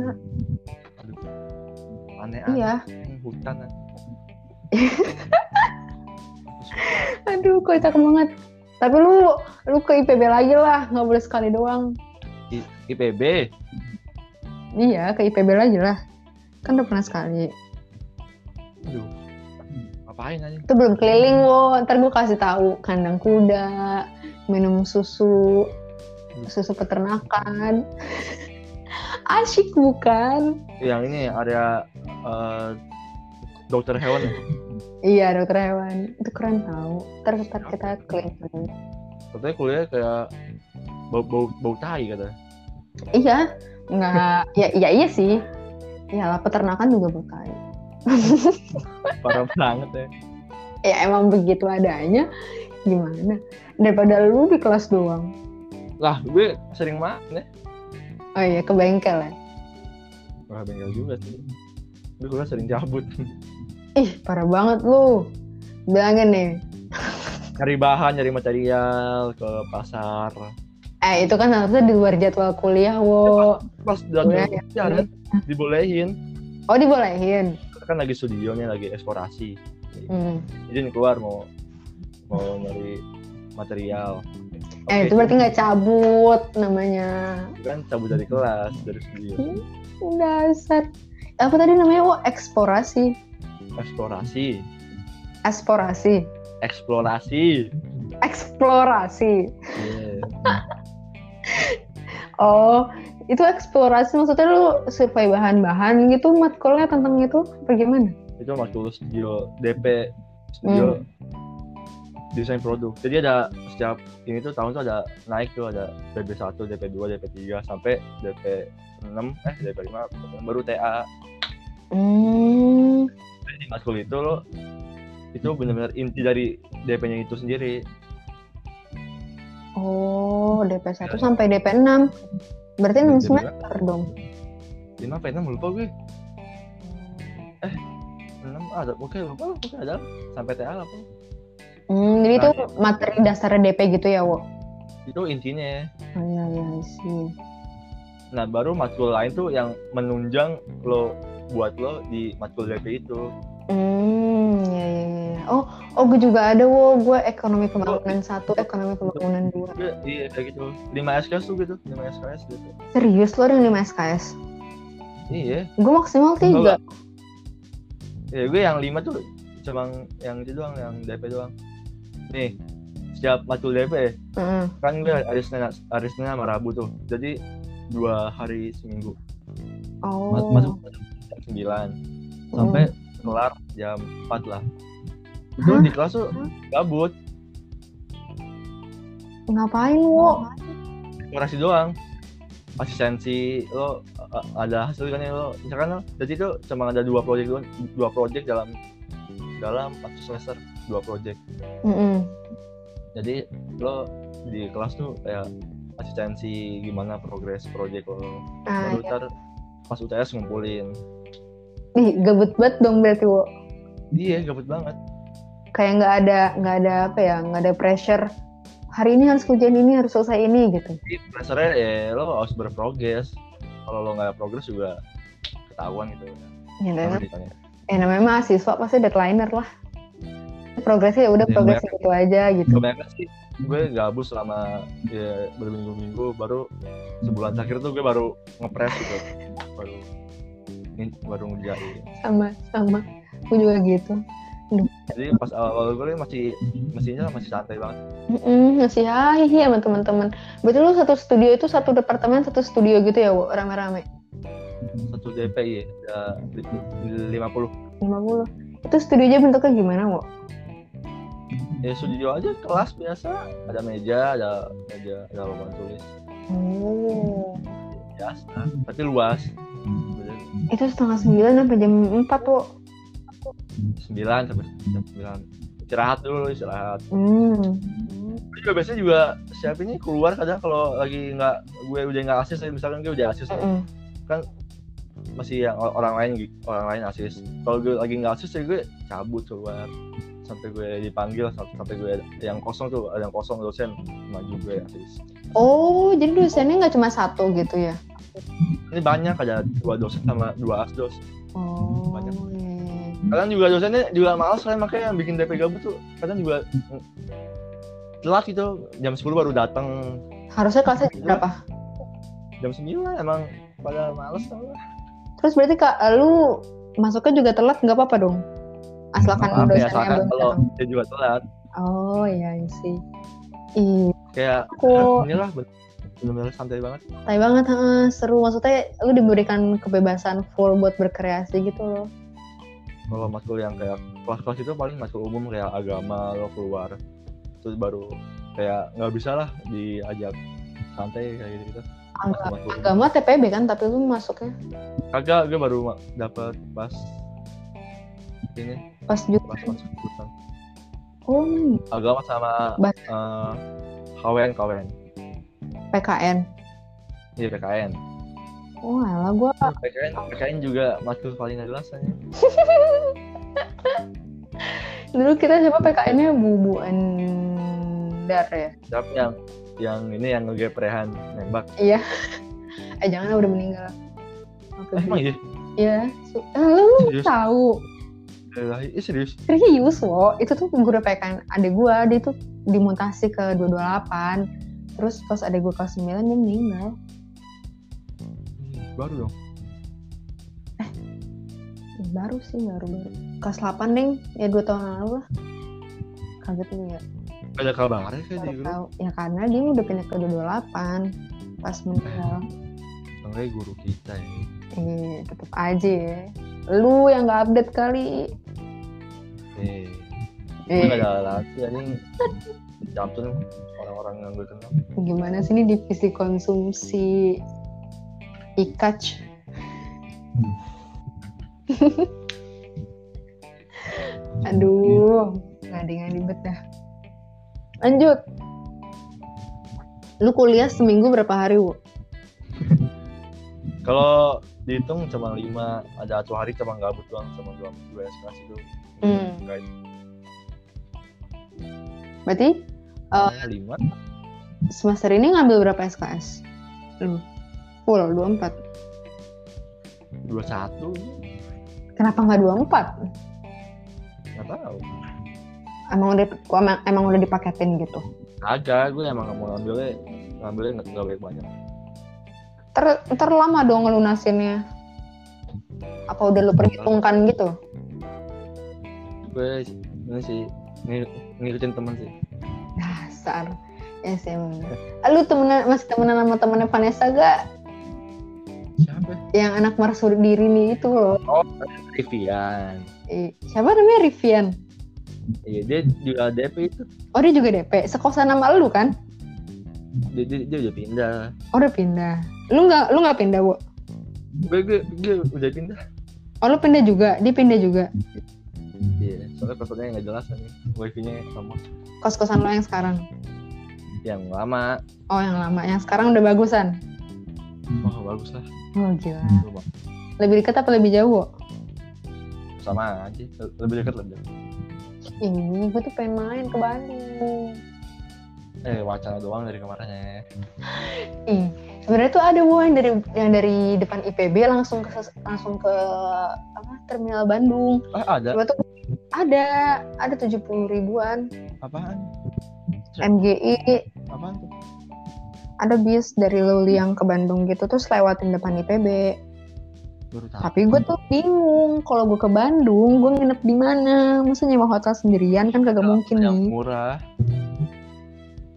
Speaker 3: aduh, aneh
Speaker 2: Iya.
Speaker 3: aneh hutan aneh.
Speaker 2: Aduh, kok itu banget. Tapi lu lu ke IPB lagi lah, nggak boleh sekali doang.
Speaker 3: I- IPB
Speaker 2: Iya, ke IPB lagi lah. Kan udah pernah sekali.
Speaker 3: aduh ngapain aja
Speaker 2: Itu belum keliling lo. Ntar gue kasih tahu kandang kuda, minum susu, susu peternakan. Asyik bukan?
Speaker 3: yang ini area eh, dokter hewan ya?
Speaker 2: Iya dokter hewan itu keren tau. Ntar, ntar kita klik.
Speaker 3: katanya kuliah kayak bau bau bau tai kata
Speaker 2: Iya nggak ya, ya iya sih. Iyalah peternakan juga bukan.
Speaker 3: parah banget ya
Speaker 2: Ya emang begitu adanya. Gimana? Daripada lu di kelas doang.
Speaker 3: lah gue sering makan ya
Speaker 2: Oh iya ke bengkel ya.
Speaker 3: wah bengkel juga sih gue kuliah sering cabut
Speaker 2: Ih parah banget lu. Bilangin nih.
Speaker 3: cari bahan cari material ke pasar
Speaker 2: Eh itu kan harusnya di luar jadwal kuliah wo.
Speaker 3: pas dan
Speaker 2: Kuliah
Speaker 3: jalan
Speaker 2: Hmm.
Speaker 3: dibolehin
Speaker 2: Oh dibolehin.
Speaker 3: kan lagi studionya lagi eksplorasi
Speaker 2: Hmm.
Speaker 3: izin keluar mau mau nyari material Oke,
Speaker 2: Eh itu berarti nggak cabut namanya.
Speaker 3: kan cabut dari kelas dari studio
Speaker 2: Dasar. Apa tadi namanya? Oh, eksplorasi.
Speaker 3: eksplorasi
Speaker 2: Aspirasi.
Speaker 3: eksplorasi
Speaker 2: Eksplorasi.
Speaker 3: Iya.
Speaker 2: Oh, itu eksplorasi maksudnya lu survei bahan-bahan gitu matkulnya tentang itu apa gimana?
Speaker 3: itu waktu studio DP studio
Speaker 2: Hmm.
Speaker 3: desain produk jadi ada setiap ini tuh tahun tuh ada naik tuh ada DP1 DP2 DP3 sampai DP6 eh DP5 baru TA
Speaker 2: Hmm.
Speaker 3: jadi matkul itu lo itu benar-benar inti dari DP-nya itu sendiri
Speaker 2: Oh, DP1 sampai DP6. Berarti 6
Speaker 3: DP2.
Speaker 2: semester dong.
Speaker 3: ini apa enam lupa gue eh enam ah, ada oke lupa lah, oke ada sampai TA lah apa
Speaker 2: Hmm, jadi itu
Speaker 3: Nah,
Speaker 2: materi dasarnya DP gitu ya, Wo?
Speaker 3: itu intinya
Speaker 2: Oh, iya, iya, I see.
Speaker 3: Nah baru matkul lain tuh yang menunjang lo buat lo di matkul DP itu.
Speaker 2: Hmm, ya, ya, ya. Oh, oh, gue juga ada, Wo. Gue ekonomi pembangunan satu,
Speaker 3: itu-
Speaker 2: ekonomi pembangunan dua.
Speaker 3: Iya iya, kayak gitu. 5 SKS tuh gitu, 5 SKS gitu.
Speaker 2: Serius lo ada yang 5 SKS?
Speaker 3: Iya.
Speaker 2: Gue maksimal tiga.
Speaker 3: Enggak. Ya gue yang 5 tuh cuma yang itu doang, yang DP doang. Nih, setiap matkul DP
Speaker 2: Heeh.
Speaker 3: kan gue hari Senin, hari Senin sama Rabu tuh. Jadi dua hari seminggu.
Speaker 2: Oh.
Speaker 3: Mas- Masuk jam 9 sampai kelar jam 4 lah. Itu
Speaker 2: Hah?
Speaker 3: di kelas tuh gabut,
Speaker 2: Hmm. Ngapain wo?
Speaker 3: kurasi doang asistensi lo a- ada hasil kan ya lo misalkan lo jadi itu cuma ada dua project doang dua project dalam dalam satu semester dua project
Speaker 2: Mm-mm.
Speaker 3: jadi lo di kelas tuh kayak asistensi gimana progres project lo
Speaker 2: Ah,
Speaker 3: baru
Speaker 2: iya.
Speaker 3: ntar pas UTS ngumpulin
Speaker 2: Ih, gabut banget dong berarti wo.
Speaker 3: iya gabut banget
Speaker 2: Kayak nggak ada nggak ada apa ya? Nggak ada pressure. Hari ini harus kerjaan ini harus selesai ini gitu.
Speaker 3: jadi dasarnya ya lo harus berprogres kalau lo nggak progres juga ketahuan gitu
Speaker 2: Ya,
Speaker 3: Sama
Speaker 2: namanya,
Speaker 3: ditanya.
Speaker 2: ya namanya mahasiswa pasti deadlineer lah. Progresnya ya udah
Speaker 3: Dan
Speaker 2: progres gitu aja gitu.
Speaker 3: kebanyakan sih gue gabut selama ya, berminggu-minggu baru sebulan terakhir tuh gue baru ngepres gitu baru ini baru ngerjain
Speaker 2: Sama sama. Gue juga gitu.
Speaker 3: jadi pas awal-awal gue kan masih mesinnya masih santai banget
Speaker 2: Mm-mm, masih hai hai sama teman-teman. Berarti lu satu studio itu satu departemen satu studio gitu ya, Wo? Rame-rame.
Speaker 3: satu DP ya ada lima puluh
Speaker 2: 50. Itu studionya bentuknya gimana, Wo?
Speaker 3: ya studio aja kelas biasa ada meja ada meja ada papan tulis
Speaker 2: Oh.
Speaker 3: biasa tapi luas
Speaker 2: Itu setengah sembilan sampai jam empat, Wo.
Speaker 3: sembilan sampai jam sembilan istirahat dulu istirahat
Speaker 2: Hmm.
Speaker 3: Gue juga biasanya juga siapa ini keluar kadang kalau lagi nggak gue udah nggak asis nih, misalkan gue udah asis nih,
Speaker 2: Mm-mm.
Speaker 3: masih yang orang lain gi- orang lain asis kalau gue lagi nggak asis ya gue cabut keluar sampai gue dipanggil sam- sampai gue yang kosong tuh ada yang kosong dosen maju gue asis
Speaker 2: Oh, jadi dosennya nggak cuma satu gitu ya?
Speaker 3: ini banyak ada dua dosen sama dua asdos
Speaker 2: Oh.
Speaker 3: Banyak.
Speaker 2: iya, iya.
Speaker 3: kadang juga dosennya juga malas kan makanya yang bikin DP gabut tuh kadang juga mm, telat gitu jam 10 baru datang
Speaker 2: Harusnya kelasnya jam berapa?
Speaker 3: jam 9 emang pada males tau lah.
Speaker 2: Terus berarti kak, lu masuknya juga telat nggak apa-apa dong? Asalkan
Speaker 3: Maaf ya,
Speaker 2: dosennya
Speaker 3: asalkan
Speaker 2: belum
Speaker 3: kalau
Speaker 2: datang.
Speaker 3: dia juga telat
Speaker 2: Oh iya sih. Iya.
Speaker 3: kayak ya,
Speaker 2: Aku-
Speaker 3: inilah benar-benar santai banget
Speaker 2: Tapi banget, heeh, seru. Maksudnya lu diberikan kebebasan full buat berkreasi gitu loh.
Speaker 3: kalau matkul yang kayak kelas-kelas itu paling matkul umum kayak agama lo keluar terus baru kayak nggak bisa lah diajak santai kayak gitu gitu
Speaker 2: Agama, agama TPB kan tapi lu masuknya
Speaker 3: kagak gue baru ma- dapet pas ini
Speaker 2: pas juga
Speaker 3: pas masuk jurusan
Speaker 2: oh
Speaker 3: agama sama
Speaker 2: Bah-
Speaker 3: eh, KWN KWN
Speaker 2: PKN
Speaker 3: iya PKN
Speaker 2: oh alah gue
Speaker 3: PKN PKN juga matkul paling nggak jelas aja
Speaker 2: dulu kita siapa PKN-nya Bubu Andar ya
Speaker 3: siapa yang yang ini yang ngegeprehan nembak
Speaker 2: eh jangan lah, udah meninggal Oke,
Speaker 3: eh, emang
Speaker 2: Bu.
Speaker 3: iya
Speaker 2: Iya, su- eh, lu
Speaker 3: Serius?
Speaker 2: tahu
Speaker 3: Ilahi, eh, serius
Speaker 2: serius loh itu tuh guru PKN ada gue dia tuh dimutasi ke 228 terus pas ada gue kelas 9 dia meninggal
Speaker 3: Hmm, baru dong
Speaker 2: baru sih baru baru kelas 8 deng ya dua tahun lalu lah kaget nih ya
Speaker 3: Nggak ada kabarnya kayak di
Speaker 2: baru
Speaker 3: grup
Speaker 2: tahu ya karena dia udah pindah ke 228 pas meninggal
Speaker 3: Tengahnya guru kita ya
Speaker 2: eh tetep aja ya lu yang nggak update kali
Speaker 3: eh gue nggak
Speaker 2: eh
Speaker 3: ada lagi anjing campur orang-orang yang gue kenal
Speaker 2: gimana sih ini divisi konsumsi ikaj aduh ngading ribet dah lanjut lu kuliah seminggu berapa hari Wu?
Speaker 3: kalau dihitung cuma lima ada satu hari cuma gabut doang cuma dua dua SKS itu
Speaker 2: Hmm.
Speaker 3: Nggak
Speaker 2: berarti
Speaker 3: ada lima
Speaker 2: semester ini ngambil berapa SKS? Lu? Full 24.
Speaker 3: dua satu
Speaker 2: Kenapa nggak
Speaker 3: nggak
Speaker 2: 24?
Speaker 3: tahu
Speaker 2: Emang udah gua emang, emang udah dipaketin gitu.
Speaker 3: agak gue emang nggak mau ngambilnya ngambilnya nggak nggak banyak banyak
Speaker 2: Ter, terlama dong ngelunasinnya. Apa udah lu perhitungkan gitu?
Speaker 3: gue ini sih ng- ngikutin teman sih
Speaker 2: Dasar. Ya sih emang. Ah, Lu temenan, masih temenan sama temennya Vanessa gak?
Speaker 3: siapa
Speaker 2: Yang anak marsuri diri nih itu loh.
Speaker 3: Rivian
Speaker 2: Ih, Siapa namanya Rivian?
Speaker 3: iya dia juga DP itu
Speaker 2: Oh dia juga DP. Sekosan sama lu kan?
Speaker 3: dia, dia, dia udah pindah
Speaker 2: Oh udah pindah. Lu nggak lu nggak pindah, Bu?
Speaker 3: gue gue gue udah pindah
Speaker 2: Oh lu pindah juga? Dia pindah juga?
Speaker 3: iya soalnya passwordnya nggak jelas aja wifi-nya sama
Speaker 2: Kos-kosan lo yang sekarang?
Speaker 3: yang lama
Speaker 2: Oh yang lama, yang sekarang udah bagusan.
Speaker 3: wah bagus lah
Speaker 2: Oh gila.
Speaker 3: Gua bang-
Speaker 2: Lebih dekat apa lebih jauh? Wo?
Speaker 3: sama aja Le- lebih dekat lebih dekat
Speaker 2: Ini gue tuh pengen main ke Bandung.
Speaker 3: eh wacana doang dari ya. kemarinnya
Speaker 2: Ih, sebenarnya tuh ada Wo, yang dari yang dari depan IPB langsung ke langsung ke apa terminal Bandung.
Speaker 3: ah ada
Speaker 2: Cuma tuh ada ada tujuh puluh ribuan
Speaker 5: Apaan?
Speaker 2: MGI
Speaker 5: Apaan tuh?
Speaker 2: ada bis dari Leuliang ke Bandung gitu terus lewatin depan IPB.
Speaker 3: baru tahu
Speaker 2: Tapi gue tuh bingung kalau gue ke Bandung gue nginep di mana? Masa nyewa hotel sendirian kan
Speaker 3: Ya,
Speaker 2: kagak mungkin
Speaker 3: yang
Speaker 2: nih.
Speaker 3: murah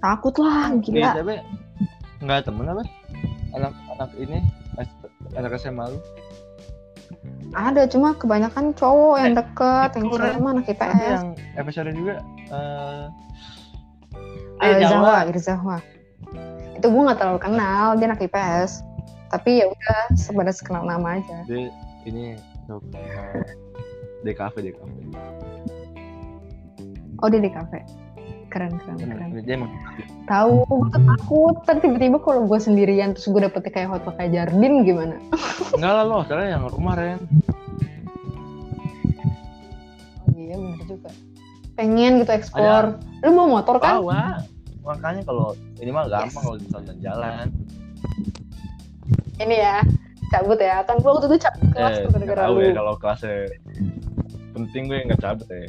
Speaker 2: Takut lah
Speaker 3: Iya,
Speaker 2: gila.
Speaker 3: tapi nggak ada temen apa? Anak-anak ini S- anak SMA lu.
Speaker 2: Ada cuma kebanyakan cowok yang deket, yang
Speaker 3: kurang.
Speaker 2: cewek mah anak
Speaker 3: Tapi
Speaker 2: IPS.
Speaker 3: kan yang episode juga eh
Speaker 6: Eh,
Speaker 2: Eh,
Speaker 6: Jawa.
Speaker 2: Zahwa, Irzahwa. Itu gue gak terlalu kenal, dia anak IPS. Tapi ya udah sebatas kenal nama aja.
Speaker 3: di ini untuk eh, DKV DKV.
Speaker 2: Oh dia di kafe. Keren keren keren.
Speaker 3: Dia emang
Speaker 2: Tahu gue tuh takut. Ntar tiba-tiba kalau gue sendirian terus gue dapetnya kayak hotel kayak Jardin gimana?
Speaker 3: enggak lah lo, soalnya yang kemarin.
Speaker 2: Oh, iya bener juga. Pengen gitu ekspor. Lu mau motor kan?
Speaker 3: Bawa. ah. Makanya kalau ini mah gampang
Speaker 2: Yes.
Speaker 3: kalau misalnya jalan.
Speaker 2: Ini ya cabut ya. Kan gue waktu itu cabut kelas
Speaker 3: Eh,
Speaker 2: tuh gara-gara
Speaker 3: tahu
Speaker 2: lu.
Speaker 3: ya kalau kelasnya penting gue nggak cabut ya.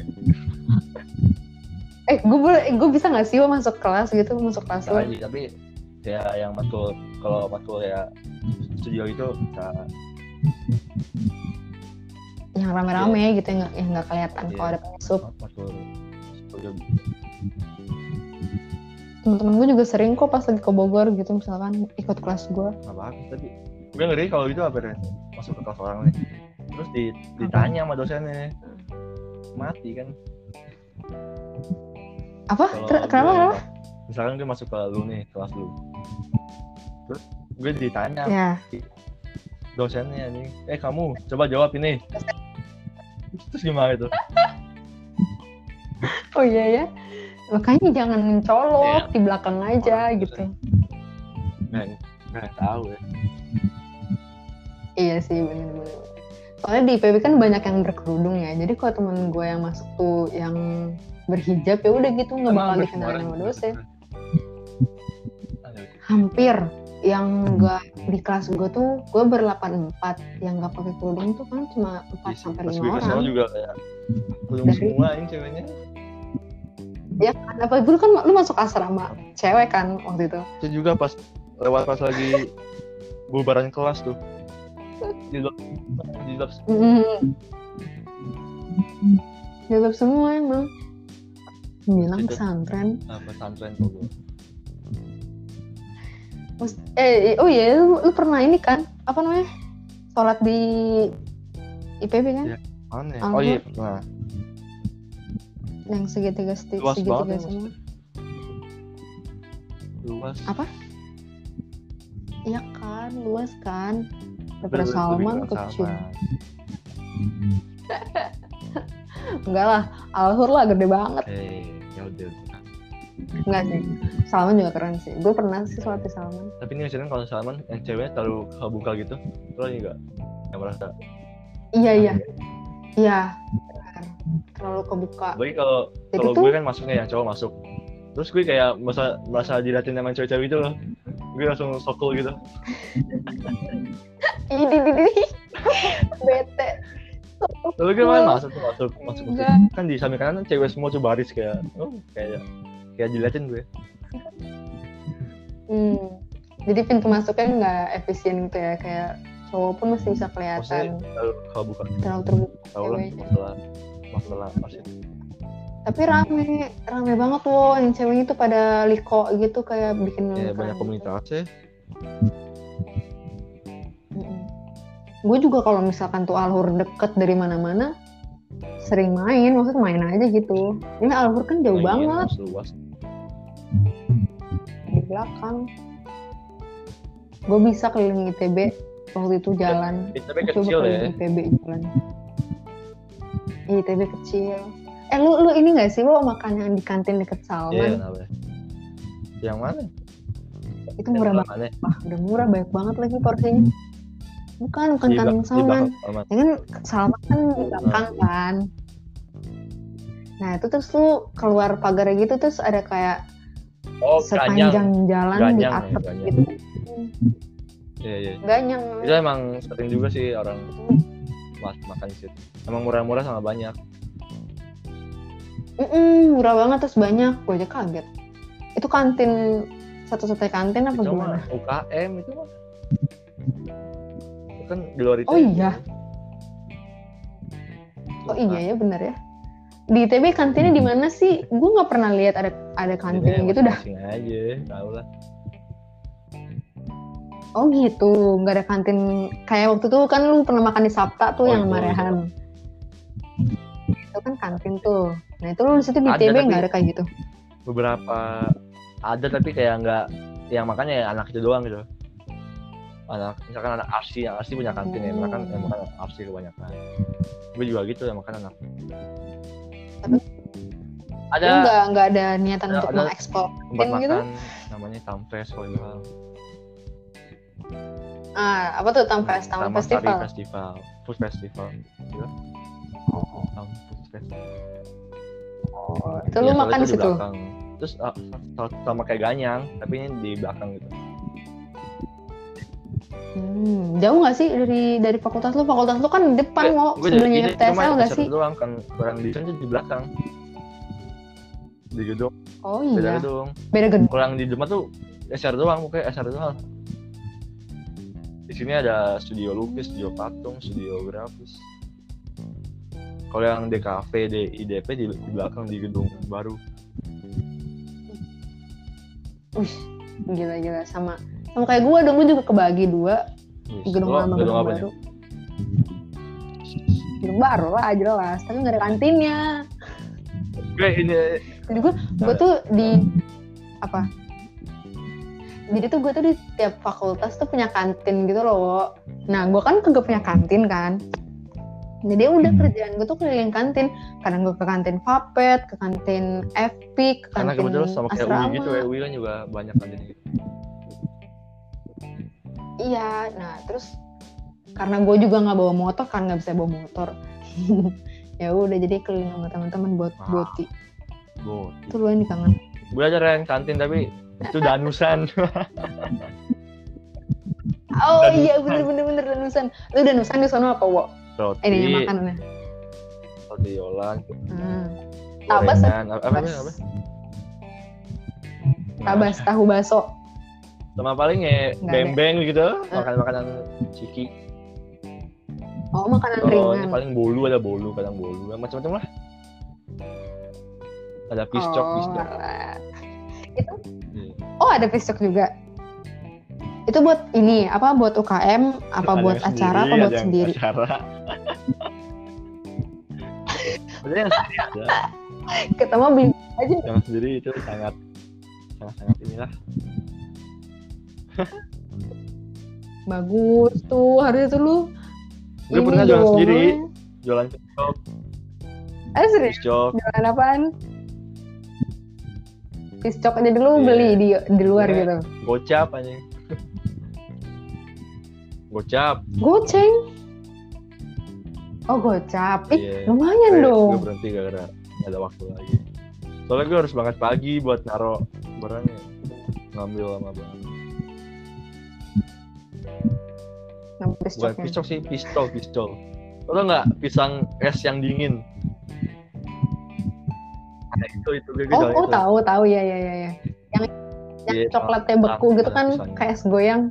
Speaker 2: Eh gue boleh, eh, gue bisa gak sih Wo, masuk kelas gitu masuk kelas
Speaker 3: Bisa
Speaker 2: lu?
Speaker 3: aja, tapi ya yang matkul kalau matkul ya studio itu bisa
Speaker 2: Yang rame-rame gitu yang nggak yang nggak kelihatan
Speaker 3: Iya.
Speaker 2: kalau ada penyusup.
Speaker 3: matkul studio
Speaker 2: temen-temen gue juga sering kok pas lagi ke Bogor gitu misalkan ikut kelas gue
Speaker 3: nggak bagus tapi gue ngeri kalau gitu apa Ren? masuk ke kelas orang nih terus di- ditanya sama dosennya mati kan
Speaker 2: Apa?
Speaker 3: kalau
Speaker 2: Ter-
Speaker 3: gue-
Speaker 2: kenapa? Kenapa?
Speaker 3: misalkan gue masuk ke lu nih kelas lu terus gue ditanya
Speaker 2: Ya.
Speaker 3: dosennya nih eh kamu coba jawab ini terus gimana itu
Speaker 2: Oh iya ya. Makanya jangan
Speaker 3: Iya.
Speaker 2: mencolok di belakang aja
Speaker 3: Orang
Speaker 2: gitu.
Speaker 3: nggak nggak tahu ya
Speaker 2: Iya sih bener-bener. Soalnya di IPB kan banyak yang berkerudung ya. Jadi kalau temen gue yang masuk tuh yang berhijab ya udah gitu nggak bakal
Speaker 3: Emang semua
Speaker 2: dikenalin
Speaker 3: orang
Speaker 2: sama
Speaker 3: gitu?
Speaker 2: dosen.
Speaker 3: Ada.
Speaker 2: Hampir
Speaker 3: Hmm.
Speaker 2: yang gak di kelas gue tuh gue berlapan empat yang nggak pakai kerudung tuh kan cuma empat
Speaker 3: Iya sih,
Speaker 2: sampai
Speaker 3: pas
Speaker 2: lima
Speaker 3: gue ke sana
Speaker 2: orang.
Speaker 3: juga kayak belum
Speaker 2: Dari-
Speaker 3: semua ini ceweknya
Speaker 2: Ya kan, apa dulu kan lu masuk asrama cewek kan waktu itu.
Speaker 3: itu juga pas lewat pas lagi bubaran kelas tuh di lab di lab
Speaker 2: Mm. Jilbab semua emang. Bilang
Speaker 3: Jilbab.
Speaker 2: pesantren.
Speaker 3: apa Ah, pesantren tuh gue
Speaker 2: Mas- eh oh iya lu, lu pernah ini kan apa namanya sholat di IPB kan
Speaker 3: Iya. aneh
Speaker 2: Anggur.
Speaker 3: oh iya nah
Speaker 2: yang segitiga seti-
Speaker 3: Luas
Speaker 2: segitiga
Speaker 3: banget ya,
Speaker 2: semua
Speaker 3: luas
Speaker 2: Apa? iya kan luas kan daripada
Speaker 3: Lebih- lebih
Speaker 2: Salman
Speaker 3: kurang
Speaker 2: kecil
Speaker 3: Salman.
Speaker 2: enggak lah Alhur lah gede banget
Speaker 3: eh ya udah
Speaker 2: enggak sih Salman juga keren sih gue pernah sih sholat di Salman
Speaker 3: tapi ini misalnya kalau Salman yang ceweknya terlalu kebuka gitu lo lagi gak yang merasa
Speaker 2: iya iya
Speaker 3: Aneh.
Speaker 2: iya benar. terlalu kebuka
Speaker 3: bagi kalau
Speaker 2: jadi
Speaker 3: kalau
Speaker 2: tuh
Speaker 3: gue kan masuknya yang cowok masuk terus gue kayak merasa merasa diliatin sama cewek-cewek gitu loh gue langsung sokul gitu
Speaker 2: ih, di di di bete
Speaker 3: lalu gue main masuk tuh, masuk masuk masuk
Speaker 2: Enggak.
Speaker 3: kan di samping kanan cewek semua tuh baris kayak oh kayak kayak diliatin gue
Speaker 2: hmm. jadi pintu masuknya nggak efisien gitu ya kayak cowok pun masih bisa kelihatan
Speaker 3: maksudnya kalau kalau bukan
Speaker 2: terlalu terbuka
Speaker 3: tau lah
Speaker 2: Ceweknya.
Speaker 3: masalah masalah maksudnya
Speaker 2: tapi rame rame banget loh yang ceweknya tuh pada liko gitu kayak bikin
Speaker 3: ya
Speaker 2: lingkaran
Speaker 3: banyak
Speaker 2: gitu.
Speaker 3: komunitasnya
Speaker 2: Mm-mm. Hmm. gue juga kalau misalkan tuh alhur deket dari mana-mana sering main maksudnya main aja gitu ini alhur kan jauh
Speaker 3: Lagi
Speaker 2: banget
Speaker 3: harus luas
Speaker 2: di belakang gue bisa keliling ITB waktu itu jalan
Speaker 3: Eh, tapi
Speaker 2: Gua coba
Speaker 3: kecil ya
Speaker 2: keliling ITB jalan Iya, ITB kecil eh lu lu ini gak sih lu makan yang di kantin deket
Speaker 3: Iya,
Speaker 2: Salman
Speaker 3: kenapa? yang mana Iya.
Speaker 2: itu murah banget
Speaker 3: banget
Speaker 2: Wah, udah murah banyak banget lagi porsinya
Speaker 3: Hmm.
Speaker 2: bukan bukan kantin Salman ya kan Salman kan
Speaker 3: Hmm.
Speaker 2: di belakang kan nah itu terus lu keluar pagar gitu terus ada kayak
Speaker 3: oh
Speaker 2: sepanjang
Speaker 3: ganyang
Speaker 2: jalan di
Speaker 3: Ganyang ya,
Speaker 2: atap
Speaker 3: ganyang.
Speaker 2: gitu
Speaker 3: iya iya
Speaker 2: ganyang
Speaker 3: itu emang sering juga sih orang
Speaker 2: Iya.
Speaker 3: mas- makan di situ emang murah-murah sama banyak
Speaker 2: Mm-mm, murah banget terus banyak gue aja kaget itu kantin satu-satunya kantin apa
Speaker 3: itu
Speaker 2: gimana
Speaker 3: mah UKM itu mah itu kan di luar itu
Speaker 2: Oh iya. oh iya ya bener ya di ITB kantinnya
Speaker 3: Hmm.
Speaker 2: di mana sih gue nggak pernah lihat ada ada kantin gitu dah
Speaker 3: aja tau lah
Speaker 2: oh gitu nggak ada kantin kayak waktu itu kan lu pernah makan di Sabta
Speaker 3: Oh,
Speaker 2: tuh yang
Speaker 3: itu, itu.
Speaker 2: marehan itu kan kantin tuh nah itu lu di situ di
Speaker 3: Ada,
Speaker 2: ITB
Speaker 3: tapi-
Speaker 2: nggak ada kayak gitu
Speaker 3: beberapa ada tapi kayak nggak yang makannya ya anak itu doang gitu anak misalkan anak arsi yang arsi punya kantin ya makan
Speaker 2: Hmm.
Speaker 3: yang makan anak arsi kebanyakan gue juga gitu yang makan anak
Speaker 2: Tapi-
Speaker 3: ada
Speaker 2: lu nggak nggak ada niatan
Speaker 3: ada-
Speaker 2: untuk
Speaker 3: ada
Speaker 2: mengekspor
Speaker 3: tempat
Speaker 2: kantin
Speaker 3: makan
Speaker 2: gitu?
Speaker 3: namanya tamfest kalau nggak salah.
Speaker 2: ah apa tuh tampes
Speaker 3: Taman
Speaker 2: tampes
Speaker 3: Sari
Speaker 2: festival
Speaker 3: festival food festival gitu Taman Food Festival.
Speaker 2: Oh, itu
Speaker 3: Iya,
Speaker 2: lu
Speaker 3: soalnya
Speaker 2: makan di
Speaker 3: di
Speaker 2: situ
Speaker 3: belakang. Terus ah, sa- sama kayak ganyang, tapi ini di belakang gitu.
Speaker 2: Hmm, jauh nggak sih dari dari fakultas lu? Fakultas lu kan di depan mau
Speaker 3: Gue dari
Speaker 2: sebelumnya
Speaker 3: sini cuma
Speaker 2: FTSL nggak
Speaker 3: ada
Speaker 2: sih?
Speaker 3: satu doang kan kurang di sana di belakang. Di gedung,
Speaker 2: Oh
Speaker 3: beda
Speaker 2: iya,
Speaker 3: gedung.
Speaker 2: beda gedung.
Speaker 3: Kurang di depan tuh SR doang, pokoknya SR doang. Di sini ada studio lukis, studio patung, studio grafis. Kalau yang DKV, DIDP di, di belakang di gedung baru.
Speaker 2: Wih, gila-gila sama sama kayak gua dong, lu juga kebagi dua
Speaker 3: Wis,
Speaker 2: gedung
Speaker 3: lo gedung
Speaker 2: lama gedung
Speaker 3: apanya?
Speaker 2: baru. baru lah jelas tapi nggak ada kantinnya
Speaker 3: Gue ini
Speaker 2: jadi gue gue
Speaker 3: Nah.
Speaker 2: tuh di apa jadi tuh gue tuh di tiap fakultas tuh punya kantin gitu loh nah gue kan kagak punya kantin kan jadi udah
Speaker 3: Hmm.
Speaker 2: kerjaan gue tuh keliling kantin kadang gue ke kantin Vapet ke kantin FP ke
Speaker 3: karena
Speaker 2: kantin
Speaker 3: kebetulan sama kayak
Speaker 2: asrama
Speaker 3: UI gitu, UI kan juga banyak kantin gitu.
Speaker 2: iya nah terus karena gue juga nggak bawa motor kan nggak bisa bawa motor ya udah jadi keliling sama teman-teman buat
Speaker 3: Wow.
Speaker 2: boti
Speaker 3: Bo.
Speaker 2: itu lu yang kangen
Speaker 3: Gue aja yang kantin tapi itu danusan.
Speaker 2: oh
Speaker 3: Dan-
Speaker 2: iya bener bener bener danusan lu danusan di sana apa wo
Speaker 3: Roti,
Speaker 2: eh ini makanannya
Speaker 3: roti yolan,
Speaker 2: hmm. Tabas ya?
Speaker 3: gorengan, apa apa
Speaker 2: Tabas.
Speaker 3: apa?
Speaker 2: tabas tahu baso
Speaker 3: Sama paling ya
Speaker 2: Nggak ada. Eh.
Speaker 3: beng-beng gitu, makan-makanan ciki.
Speaker 2: oh makanan
Speaker 3: Oh, ini
Speaker 2: ringan
Speaker 3: paling bolu ada bolu, kadang bolu, macam-macam lah. Ada piscok,
Speaker 2: oh,
Speaker 3: piscok.
Speaker 2: alah.
Speaker 3: Iya.
Speaker 2: oh ada piscok juga itu buat ini apa buat UKM apa
Speaker 3: Ada
Speaker 2: buat
Speaker 3: yang
Speaker 2: acara apa
Speaker 3: sendiri, ada
Speaker 2: buat
Speaker 3: yang
Speaker 2: sendiri
Speaker 3: Acara. Ada yang sendiri, ada.
Speaker 2: ketemu beli aja
Speaker 3: yang sendiri itu sangat sangat sangat inilah
Speaker 2: bagus tuh harusnya tuh lu
Speaker 3: Gue
Speaker 2: ini
Speaker 3: pernah jualan
Speaker 2: dong.
Speaker 3: sendiri. jualan piscok,
Speaker 2: eh serius
Speaker 3: piscok.
Speaker 2: jualan apaan piscok aja dulu
Speaker 3: Iya.
Speaker 2: beli di di luar
Speaker 3: Iya.
Speaker 2: gitu
Speaker 3: gocap aja gocap
Speaker 2: Kan goceng oh gocap ih
Speaker 3: Iya.
Speaker 2: lumayan dong
Speaker 3: gue berhenti gak gara gak ada waktu lagi soalnya gue harus banget pagi buat naro barangnya ngambil sama barang iya.
Speaker 2: nama
Speaker 3: bukan
Speaker 2: piscoknya
Speaker 3: pisau sih pistol pistol lo tau nggak pisang es yang dingin Nah, itu itu gue
Speaker 2: oh
Speaker 3: jual
Speaker 2: oh
Speaker 3: itu.
Speaker 2: tahu tahu ya ya ya ya yang yang
Speaker 3: Iya,
Speaker 2: coklatnya
Speaker 3: tahu,
Speaker 2: beku
Speaker 3: tahu,
Speaker 2: gitu
Speaker 3: ada
Speaker 2: kan
Speaker 3: pisangnya.
Speaker 2: kayak es goyang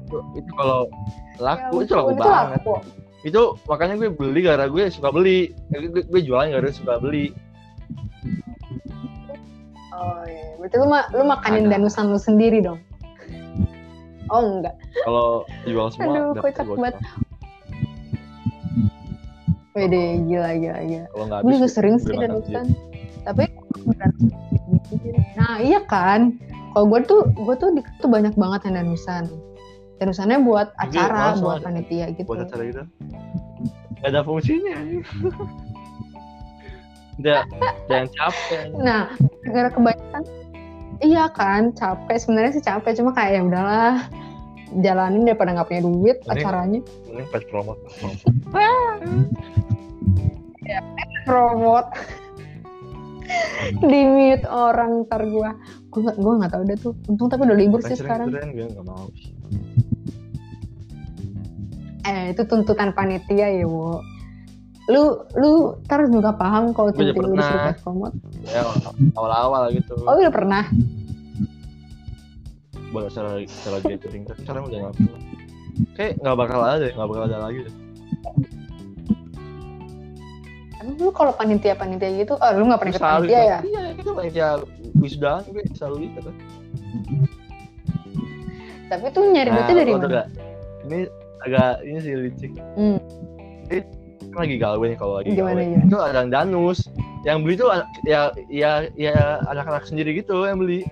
Speaker 3: itu, itu kalau laku
Speaker 2: Ya
Speaker 3: itu laku
Speaker 2: ampun,
Speaker 3: banget
Speaker 2: laku.
Speaker 3: itu makanya gue beli gara gue suka beli Eh, gue, gue jualan gara suka beli
Speaker 2: oh iya berarti lu ma- lu makanin
Speaker 3: Ada.
Speaker 2: danusan lu sendiri dong oh enggak
Speaker 3: kalau jual semua
Speaker 2: Aduh,
Speaker 3: dapet
Speaker 2: kocak
Speaker 3: gocap.
Speaker 2: banget. Wede, gila, gila, gila.
Speaker 3: kalau nggak
Speaker 2: Gue
Speaker 3: habis
Speaker 2: juga sering
Speaker 3: gue
Speaker 2: sih
Speaker 3: makan
Speaker 2: danusan. Tapi Nah, iya kan. Kalau gue tuh, gue tuh, di- tuh banyak banget yang danusan. Danusannya buat
Speaker 3: Iya,
Speaker 2: acara,
Speaker 3: malah soalnya-
Speaker 2: buat panitia gitu.
Speaker 3: buat acara gitu gak ada fungsinya udah jangan capek
Speaker 2: Nah, gara kebanyakan, iya kan, capek. Sebenarnya sih capek, cuma kayak ya udahlah jalanin daripada nggak punya duit
Speaker 3: Mending-
Speaker 2: acaranya
Speaker 3: mending pas promo
Speaker 2: promote
Speaker 3: Hmm.
Speaker 2: di mute orang ntar gue gue nggak gue nggak tahu deh tuh untung tapi udah libur sih sekarang
Speaker 3: keren gue nggak mau
Speaker 2: eh itu tuntutan panitia ya wo lu lu ntar juga paham kalau
Speaker 3: Gua udah
Speaker 2: tuntutan lu disuruh
Speaker 3: pernah.
Speaker 2: buat promote
Speaker 3: ya awal-awal gitu
Speaker 2: oh udah pernah
Speaker 3: buat acara acara gathering tapi sekarang udah nggak pernah kayak nggak bakal ada nggak bakal ada lagi deh.
Speaker 2: emang lu kalau panitia panitia gitu oh lu nggak pernah ikut
Speaker 3: Selalu
Speaker 2: panitia
Speaker 3: gitu.
Speaker 2: ya
Speaker 3: iya kita panitia wisudaan gue selalu gitu kan
Speaker 2: tapi tuh nyari duitnya Eh, dari
Speaker 3: kalau
Speaker 2: mana
Speaker 3: Nah, udah- ini agak ini sih licik
Speaker 2: Hmm.
Speaker 3: Ini kan lagi gawe nih kalau lagi
Speaker 2: Gimana, ya?
Speaker 3: gawe.
Speaker 2: gimana?
Speaker 3: Itu ada yang danus. Yang beli tuh an- ya ya ya anak-anak sendiri gitu yang beli.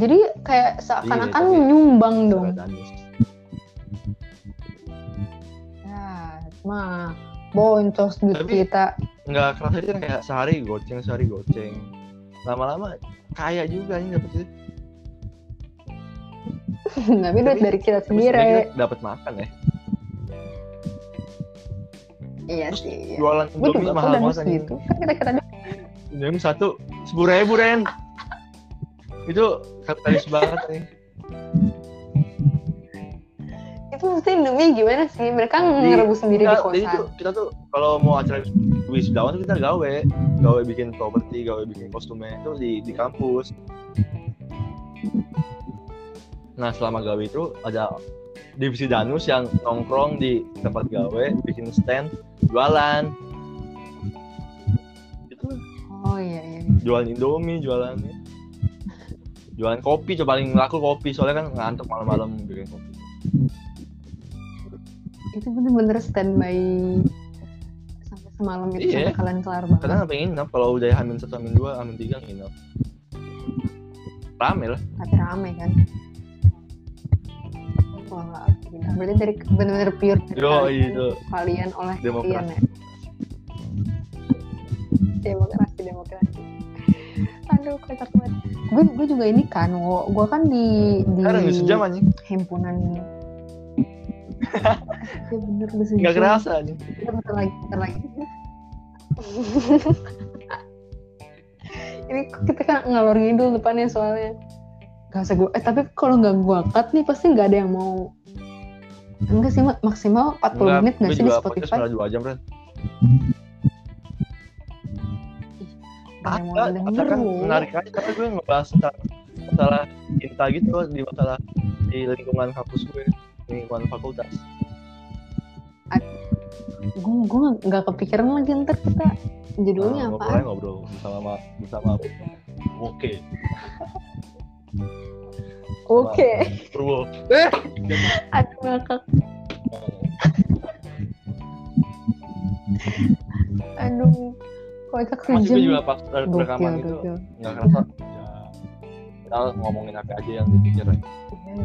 Speaker 2: jadi kayak seakan-akan
Speaker 3: Iya, tapi- Iya,
Speaker 2: nyumbang dong
Speaker 3: Ada danus.
Speaker 2: ya mah boncos duit
Speaker 3: Tapi-
Speaker 2: kita
Speaker 3: Enggak kerasa aja kayak sehari goceng sehari goceng. Lama-lama kaya juga ini dapet sih.
Speaker 2: tapi duit
Speaker 3: Tapi-
Speaker 2: dari kita
Speaker 3: Tapi sebenarnya
Speaker 2: sendiri
Speaker 3: kita dapat makan ya.
Speaker 2: iya sih ya.
Speaker 3: Jualan
Speaker 2: gue
Speaker 3: Indomie
Speaker 2: juga kok
Speaker 3: mahal
Speaker 2: danus
Speaker 3: banget anjing.
Speaker 2: gitu kan kita kita
Speaker 3: Indomie satu sepuluh ribu Ren. Itu kapitalis banget nih.
Speaker 2: itu mesti demi gimana sih mereka
Speaker 3: Di-
Speaker 2: ngerebus sendiri di
Speaker 3: Enggak, jadi
Speaker 2: kosan
Speaker 3: tuh, kita tuh kalau mau acara wisudawan tuh kita gawe, gawe bikin properti, gawe bikin kostumnya itu di di kampus. Nah selama gawe itu ada divisi danus yang nongkrong di tempat gawe, bikin stand, jualan, Itu,
Speaker 2: oh iya iya
Speaker 3: jualan indomie, jualan jualan kopi, coba paling laku kopi soalnya kan ngantuk malam-malam bikin kopi.
Speaker 2: itu bener-bener standby sampai semalam itu
Speaker 3: Iya.
Speaker 2: sampai kalian kelar banget.
Speaker 3: kadang sampai nginap kalau udah hamin satu hamin dua hamin tiga nginap rame lah
Speaker 2: Tapi rame kan. Wah, nggak gila. berarti dari bener-bener pure dari
Speaker 3: yo
Speaker 2: kalian,
Speaker 3: itu
Speaker 2: kalian oleh kalian
Speaker 3: Demokrasi.
Speaker 2: ya. Demokrasi, demokrasi. Aduh, kocak banget. Gue, gue juga ini kan, wo. gue kan di di
Speaker 3: sekarang udah sejam anjing
Speaker 2: himpunan. ya bener, udah
Speaker 3: nggak
Speaker 2: sejam.
Speaker 3: kerasa anjing
Speaker 2: Kita Iya, bentar lagi, bentar lagi. Ini kita kan ngalor ngidul depannya soalnya. Gak usah gue, eh tapi kalau nggak gue cut nih pasti nggak ada yang mau. Enggak sih, Ma. maksimal 40 menit nggak
Speaker 3: gue
Speaker 2: sih di
Speaker 3: juga podcast
Speaker 2: Spotify? Iya,
Speaker 3: malah dua jam kan
Speaker 2: Nggak ada yang mau dengerin
Speaker 3: kan
Speaker 2: lu.
Speaker 3: menarik aja karena gue ngebahas tentang masalah cinta gitu di masalah di lingkungan kampus gue lingkungan fakultas
Speaker 2: Gue gue nggak- nggak kepikiran lagi ntar kita judulnya
Speaker 3: Nah,
Speaker 2: apaan?
Speaker 3: ngobrolnya ngobrol bersama bersama oke
Speaker 2: Oke,
Speaker 3: Purwo
Speaker 2: Eh! aduh ngakak, aduh kocak
Speaker 3: masih gue juga
Speaker 2: sejam.
Speaker 3: pas eh,
Speaker 2: Gokil,
Speaker 3: rekaman gitu. itu
Speaker 2: gokil.
Speaker 3: nggak kerasa ya, kita ngomongin apa aja yang dipikirin
Speaker 2: Iya.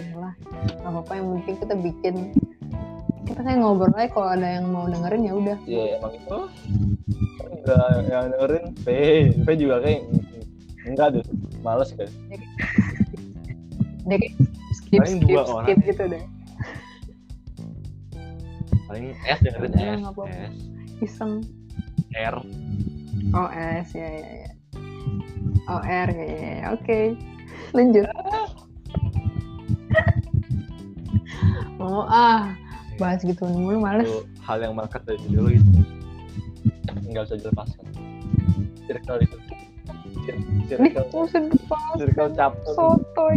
Speaker 2: Ya lah, nggak apa-apa yang penting kita bikin kita kayak ngobrol aja kalau ada yang mau dengerin ya udah
Speaker 3: ya emang itu kan juga yang dengerin P P juga kayak enggak deh males kan
Speaker 2: deh kayak skip
Speaker 3: Paling
Speaker 2: skip
Speaker 3: dua
Speaker 2: skip
Speaker 3: orang.
Speaker 2: gitu deh
Speaker 3: paling S dengerin
Speaker 2: Ya,
Speaker 3: S
Speaker 2: nggak apa-apa.
Speaker 3: S
Speaker 2: iseng
Speaker 3: R
Speaker 2: OS ya ya ya OR ya ya, ya. oke lanjut mau ah bahas gitu mulu males
Speaker 3: itu hal yang melekat dari diri lo gitu nggak bisa dilepaskan circle itu Cir-
Speaker 2: nih
Speaker 3: circle
Speaker 2: musim depan
Speaker 3: circle chapter
Speaker 2: sotoy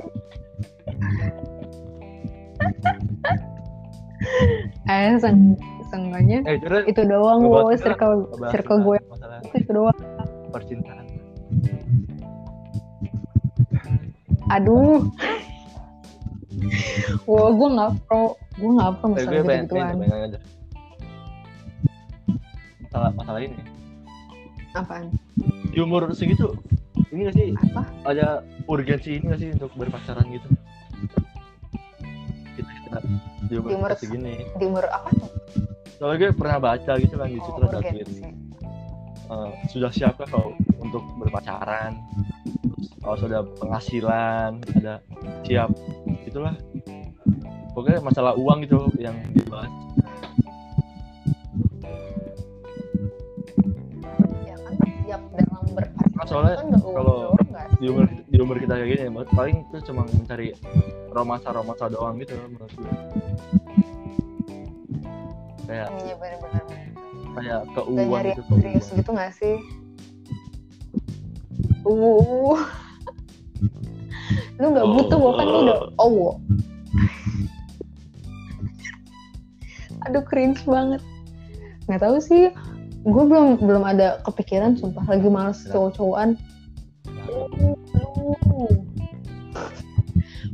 Speaker 2: eh seng sengganya
Speaker 3: eh kira
Speaker 2: itu doang
Speaker 3: Gua
Speaker 2: wo
Speaker 3: bahas-
Speaker 2: circle circle gue
Speaker 3: masalah
Speaker 2: itu doang
Speaker 3: percintaan
Speaker 2: aduh wow gue nggak pro gue nggak pro
Speaker 3: eh,
Speaker 2: masalah
Speaker 3: gue pengen
Speaker 2: gitu
Speaker 3: pengen
Speaker 2: gituan
Speaker 3: pengen aja masalah masalah ini
Speaker 2: apaan
Speaker 3: di umur segitu ini gak sih
Speaker 2: apa
Speaker 3: ada urgensi ini gak sih untuk berpacaran gitu kita kita di
Speaker 2: Di umur
Speaker 3: umur segini
Speaker 2: di umur apa
Speaker 3: soalnya gue pernah baca gitu kan
Speaker 2: Oh,
Speaker 3: di Citra ada tweet
Speaker 2: urgensi.
Speaker 3: eh, sudah siapkah kau untuk berpacaran Terus harus ada penghasilan ada siap itulah pokoknya masalah uang gitu yang dibahas
Speaker 2: ya kan siap dalam berpacaran
Speaker 3: Soalnya
Speaker 2: kan udah umur
Speaker 3: kalau
Speaker 2: doang nggak sih?
Speaker 3: di umur di umur kita kayak gini paling itu cuma mencari romansa romansa doang gitu menurut gue kayak
Speaker 2: iya benar-benar
Speaker 3: kayak
Speaker 2: gak
Speaker 3: keuangan
Speaker 2: nyari
Speaker 3: gitu
Speaker 2: yang serius
Speaker 3: keuangan.
Speaker 2: gitu nggak sih uh lu nggak
Speaker 3: Oh.
Speaker 2: butuh wo kan lu udah oh wo. aduh cringe banget nggak tahu sih gue belum belum ada kepikiran sumpah lagi males cowok-cowokan
Speaker 3: Oh,
Speaker 2: Aduh.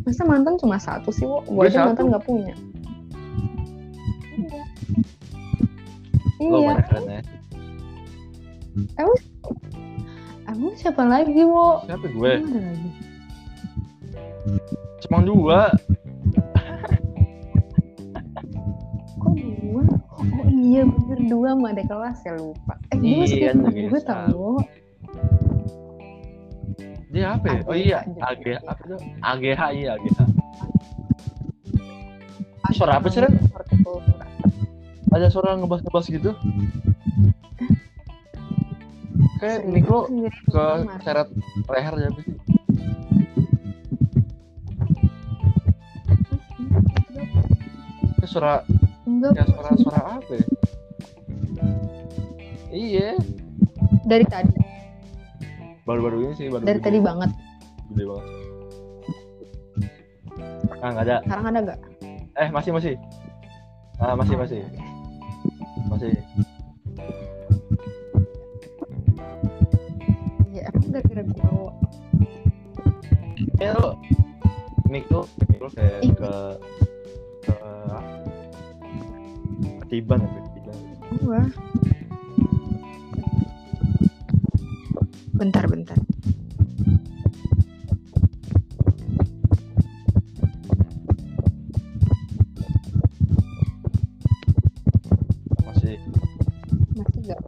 Speaker 2: masa mantan cuma satu sih wo gue
Speaker 3: Gue
Speaker 2: aja
Speaker 3: satu.
Speaker 2: mantan nggak punya
Speaker 3: Lo
Speaker 2: iya
Speaker 3: mana keren ya?
Speaker 2: Emang siapa lagi, Wo?
Speaker 3: Siapa gue?
Speaker 2: Emang ada lagi?
Speaker 3: Cuma dua.
Speaker 2: Kok dua? Oh iya bener dua sama ada kelas ya lupa. Eh dia masih
Speaker 3: Iya,
Speaker 2: temen
Speaker 3: iya,
Speaker 2: gue
Speaker 3: sama.
Speaker 2: tau Wo.
Speaker 3: Dia apa ya? Oh
Speaker 2: AGH
Speaker 3: iya,
Speaker 2: juga.
Speaker 3: AGH apa tuh? AGH iya AGH. Suara apa sih, Ren?
Speaker 2: Hortikultura.
Speaker 3: Ada suara ngebas-ngebas gitu. Kayak
Speaker 2: Serius,
Speaker 3: mic lo
Speaker 2: sendiri
Speaker 3: ke
Speaker 2: kamar.
Speaker 3: seret leher ya sih? Kayak suara
Speaker 2: Enggak,
Speaker 3: kayak
Speaker 2: Wo.
Speaker 3: suara suara apa ya? Iya,
Speaker 2: dari tadi,
Speaker 3: baru-baru ini sih baru
Speaker 2: dari
Speaker 3: gede-
Speaker 2: tadi banget.
Speaker 3: gede banget. Ah, nggak ada.
Speaker 2: Sekarang ada gak?
Speaker 3: Eh, masih masih. Ah, masih masih.
Speaker 2: Hmm.
Speaker 3: Masih.
Speaker 2: Iya, emang gara-gara gue, Wo.
Speaker 3: Ya lo piknik tuh piknik tuh kayak
Speaker 2: Ih.
Speaker 3: ke ke ketiban ya ketiban
Speaker 6: gua bentar bentar
Speaker 3: masih
Speaker 2: masih gak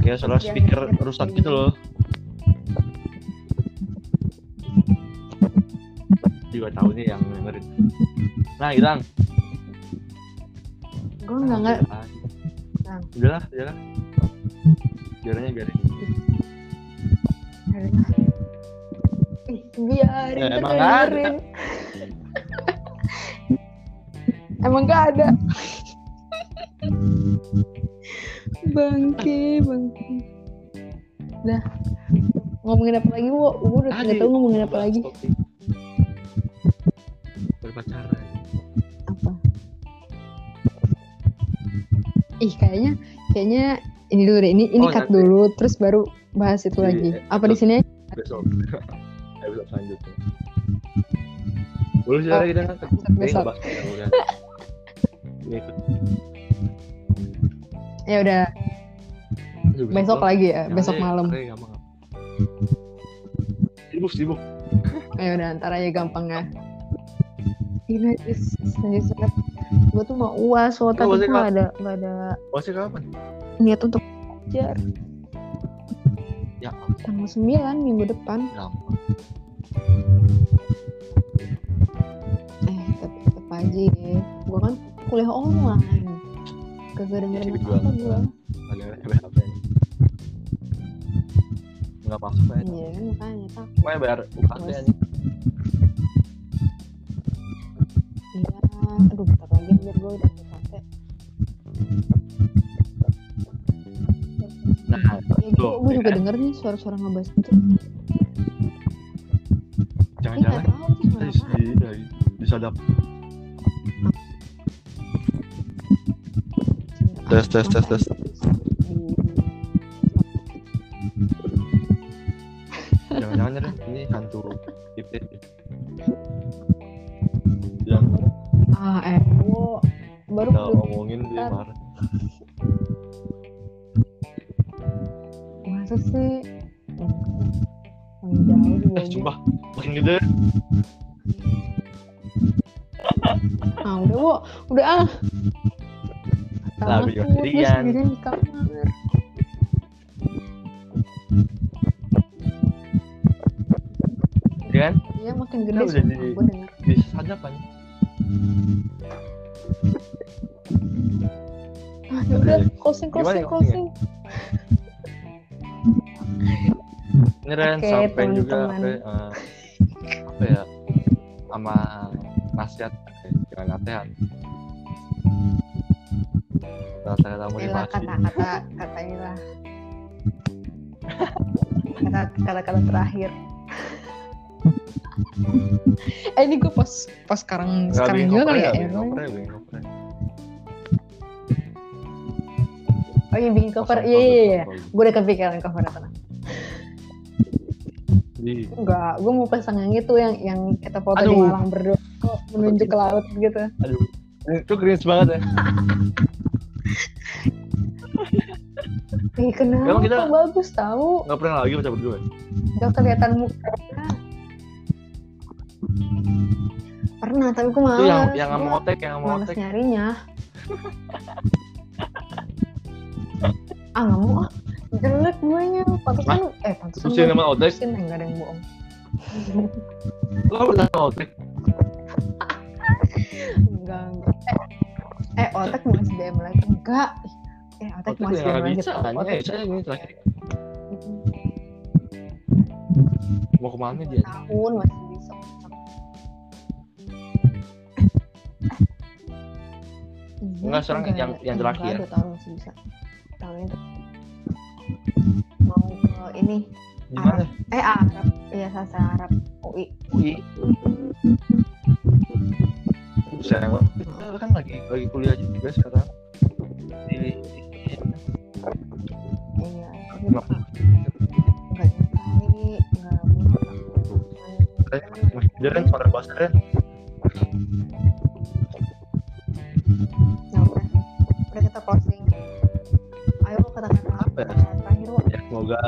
Speaker 3: kayak salah
Speaker 2: Iya,
Speaker 3: speaker
Speaker 2: iya.
Speaker 3: rusak gitu loh juga tahu nih yang dengerin nah hilang
Speaker 2: gue nggak Nah. ngerti
Speaker 3: Ah.
Speaker 2: Hilang.
Speaker 3: udahlah udahlah jaranya biarin
Speaker 2: Ih, biarin
Speaker 3: Eh,
Speaker 2: ntar
Speaker 3: Ya, emang nggak ada.
Speaker 2: dengerin. emang gak ada bangke bangke Dah ngomongin apa lagi wo gue udah
Speaker 3: Ah,
Speaker 2: nggak tahu ngomongin apa lagi
Speaker 3: berpacaran
Speaker 2: apa ih kayaknya kayaknya ini dulu deh ini ini
Speaker 3: Oh,
Speaker 2: cut
Speaker 3: nanti. Iya,
Speaker 2: dulu terus baru bahas itu
Speaker 3: Di
Speaker 2: lagi apa di
Speaker 3: episode-
Speaker 2: sini aja?
Speaker 3: besok
Speaker 2: Hmm.
Speaker 3: episode selanjutnya boleh sih oh,
Speaker 2: Oh,
Speaker 3: kita kan
Speaker 2: episode
Speaker 3: Ini
Speaker 2: besok.
Speaker 3: ngebahas kita udah. Ini ikut.
Speaker 2: ya udah besok
Speaker 3: doang.
Speaker 2: lagi ya
Speaker 3: Jangan
Speaker 2: besok
Speaker 3: deh,
Speaker 2: malam
Speaker 3: makanya gampang. sibuk sibuk
Speaker 2: ya udah ntar aja gampang ya ini najis najis banget gue tuh mau uas so
Speaker 3: maksudnya
Speaker 2: tapi gue
Speaker 3: kalau-
Speaker 2: gak ada gak ada
Speaker 3: masih kapan
Speaker 2: niat untuk belajar
Speaker 3: ya ampun,
Speaker 2: tanggal 9 minggu depan
Speaker 3: gampang
Speaker 2: eh tapi tetep aja gue kan kuliah online kagak dengerin
Speaker 3: Jadi
Speaker 2: apa apa
Speaker 3: jualan.
Speaker 2: gue
Speaker 3: ada apa ini nggak masuk ya
Speaker 2: iya kan makanya tak
Speaker 3: cuma bayar ukt
Speaker 2: Mas.
Speaker 3: aja
Speaker 2: iya aduh bentar lagi biar gue udah UKT
Speaker 3: nah
Speaker 2: ya gitu
Speaker 3: Loh,
Speaker 2: gue
Speaker 3: ya
Speaker 2: juga
Speaker 3: kan?
Speaker 2: denger nih suara-suara ngebas gitu eh
Speaker 3: jangan-jangan Iya,
Speaker 2: nggak tahu tuh
Speaker 3: kita
Speaker 2: suara apa
Speaker 3: di- di- disadap Tes, tes, tes, tes. jangan-jangan ya, ini hantu titip yang
Speaker 2: Ah, eh, gua baru
Speaker 3: kita
Speaker 2: baru-
Speaker 3: omongin dia
Speaker 2: Ntar.
Speaker 3: marah
Speaker 2: masa sih yang jauh di
Speaker 3: eh
Speaker 2: bawah gua.
Speaker 3: sumpah gitu ya. makin gede
Speaker 2: Ah, udah, wo, udah ah.
Speaker 3: Lah,
Speaker 2: Tangan
Speaker 3: gua juga
Speaker 2: gua, gua
Speaker 3: sendirian.
Speaker 2: sendirian di kamar.
Speaker 3: ya kan
Speaker 2: Iya, makin gede.
Speaker 3: Udah
Speaker 2: sumpah,
Speaker 3: jadi-
Speaker 2: gua denger.
Speaker 3: disadap kan
Speaker 2: Ah, ya udah,
Speaker 3: jadi-
Speaker 2: closing,
Speaker 3: Gimana
Speaker 2: closing,
Speaker 3: ya
Speaker 2: closing.
Speaker 3: ini Ren
Speaker 2: Oke,
Speaker 3: sampai juga apa,
Speaker 2: teman-teman.
Speaker 3: eh, apa ya sama nasihat eh, jangan latihan kata-kata
Speaker 2: Inilah
Speaker 3: motivasi
Speaker 2: kata-kata, kata inilah. Kata- Kata-kata terakhir. eh, ini gue pas pas sekarang
Speaker 3: Nggak,
Speaker 2: sekarang
Speaker 3: Bing,
Speaker 2: juga kali
Speaker 3: ngoprek
Speaker 2: ya.
Speaker 3: Bing,
Speaker 2: ya, gua-
Speaker 3: ngoprek, Bing, ngoprek.
Speaker 2: Oh iya bikin cover,
Speaker 3: Kosong,
Speaker 2: iya iya
Speaker 3: kosong,
Speaker 2: iya.
Speaker 3: kosong.
Speaker 2: Gue udah kepikiran cover apa.
Speaker 3: Ih,
Speaker 2: Enggak, gue mau pasang yang itu yang yang kita foto di
Speaker 3: Aduh.
Speaker 2: Malang berdua kok menunjuk ke laut gitu.
Speaker 3: aduh itu cringe banget ya
Speaker 2: Ih kenapa?
Speaker 3: Emang kita-
Speaker 2: bagus tahu?
Speaker 3: nggak pernah lagi baca berdua
Speaker 2: Gak kelihatan muka. Pernah, tapi gue malas.
Speaker 3: itu yang yang
Speaker 2: Gua
Speaker 3: mau otek yang mau
Speaker 2: malas
Speaker 3: otek
Speaker 2: nyarinya. ah nggak mau ah. Jelek gue nya. Pantesan lu, eh pantesan
Speaker 3: terus
Speaker 2: lu
Speaker 3: yang nama otek
Speaker 2: pusing, eh, nggak ada yang bohong.
Speaker 3: lo pernah sama otek
Speaker 2: Enggak, enggak. Eh, eh otak mau SBM lagi. Enggak. Eh, otak
Speaker 3: otek
Speaker 2: mau
Speaker 3: juga
Speaker 2: SBM
Speaker 3: nggak
Speaker 2: lagi.
Speaker 3: bisa
Speaker 2: Otak-
Speaker 3: tanya bisa ini terakhir mau kemana dia
Speaker 2: tahun masih bisa Iya,
Speaker 3: Enggak, sekarang
Speaker 2: enggak,
Speaker 3: yang- yang
Speaker 2: enggak,
Speaker 3: terakhir.
Speaker 2: dua tahun masih bisa tahun itu mau ke ini
Speaker 3: di mana
Speaker 2: eh Arab iya sastra Arab UI
Speaker 3: UI sayang banget. kita kan lagi lagi kuliah juga sekarang di
Speaker 2: iya tapi enggak enggak nyampe, enggak
Speaker 3: eh Mas Jaren suara bahasa kan? Ren
Speaker 6: Ya udah. Udah kita closing. Ayo lo katakan
Speaker 3: Apa ya?
Speaker 6: Terakhir lo.
Speaker 3: ya semoga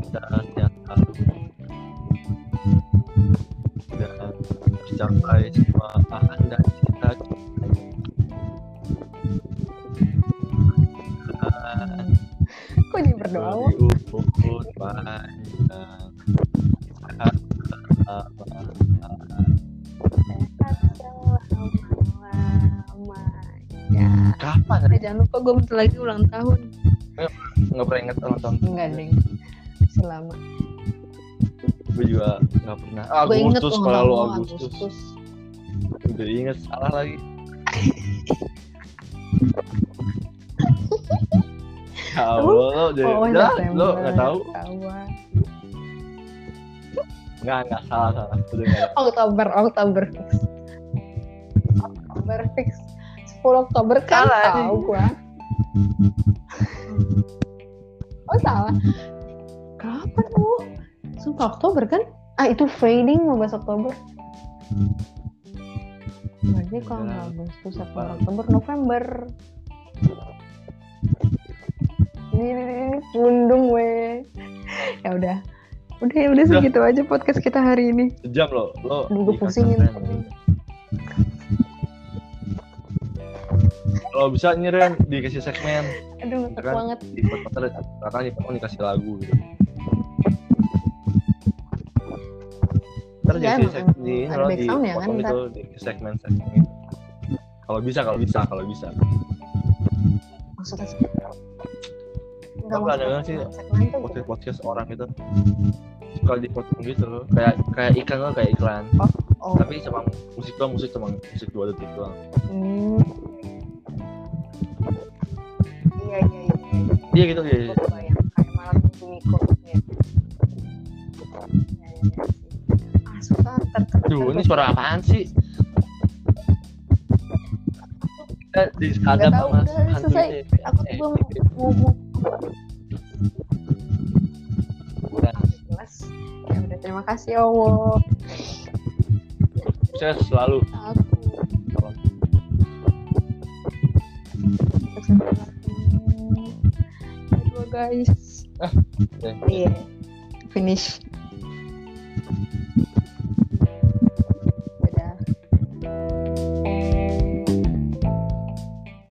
Speaker 3: kita sehat selalu dan tercapai semua tahan dan cita Ah.
Speaker 2: Kok jadi berdoa lo?
Speaker 3: diubur panjang sehat selalu.
Speaker 6: Lama.
Speaker 3: kapan
Speaker 6: Eh, jangan lupa gue bentar lagi ulang tahun.
Speaker 3: nggak pernah inget ulang tahun
Speaker 2: Enggak deh. Selama.
Speaker 3: gue juga nggak pernah Ah,
Speaker 6: Gue inget
Speaker 3: Agustus
Speaker 6: ulang
Speaker 3: kalau lu
Speaker 6: tahun
Speaker 3: Agustus udah inget salah lagi ya Allah lo udah
Speaker 6: iya,
Speaker 2: Oh,
Speaker 3: udah,
Speaker 2: November.
Speaker 3: lo nggak tahu
Speaker 2: Ketawa.
Speaker 3: nggak nggak salah salah udah nggak
Speaker 2: Oktober, Oktober fix. Oktober fix. 10 Oktober kan
Speaker 6: Salah.
Speaker 2: tahu gua. Oh salah. Kapan lu? Sumpah Oktober kan? Ah itu fading mau bahas Oktober. Berarti kalau nggak Agustus, September, Oktober, November. Ini, ini, ini pundung weh. Ya udah. Udah ya udah
Speaker 3: Udah.
Speaker 2: segitu aja podcast kita hari ini.
Speaker 3: sejam lo lo
Speaker 2: Aduh, gue
Speaker 3: di
Speaker 2: pusing
Speaker 3: kantor
Speaker 2: ini.
Speaker 3: Ren. kalau bisa nih Ren dikasih segmen
Speaker 2: Aduh, ngetek
Speaker 3: Beneran.
Speaker 2: banget.
Speaker 3: di podcast katakan di podcast dikasih lagu gitu ntar
Speaker 2: Iya,
Speaker 3: jadi
Speaker 2: emang
Speaker 3: seg di ini
Speaker 2: ada
Speaker 3: loh, di
Speaker 2: backsound ya kan,
Speaker 3: potong
Speaker 2: ntar.
Speaker 3: gitu di segmen segmen gitu. kalau bisa kalau bisa kalau bisa
Speaker 2: Maksudnya sih. Enggak
Speaker 3: Kamu Iya. ada nggak sih
Speaker 2: Segmen tuh
Speaker 3: podcast
Speaker 2: gitu.
Speaker 3: podcast orang gitu suka dipotong gitu loh kayak kayak iklan loh kayak iklan
Speaker 2: Oh,
Speaker 3: tapi cuma musik doang musik cuma musik dua detik doang
Speaker 2: hmm. Iya, iya, iya. iya.
Speaker 3: iya gitu iya iya.
Speaker 2: Gue kebayang. Kayak malam minggu Miko gitu ya. Iya, iya, iya. Ah, suka. Ter- ter- ter-
Speaker 3: Duh, ini suara apaan sih? Kita disadap
Speaker 2: Nggak tahu,
Speaker 3: sama
Speaker 2: udah,
Speaker 3: hantu
Speaker 2: selesai.
Speaker 3: ini.
Speaker 2: Aku tuh
Speaker 3: Eh,
Speaker 2: belum mau mau
Speaker 3: bukan.
Speaker 2: jelas. Ya udah, terima kasih Allah.
Speaker 3: Sukses selalu.
Speaker 2: Aku
Speaker 3: Salam.
Speaker 2: Kedua guys.
Speaker 3: Eh,
Speaker 2: Iya. Finish.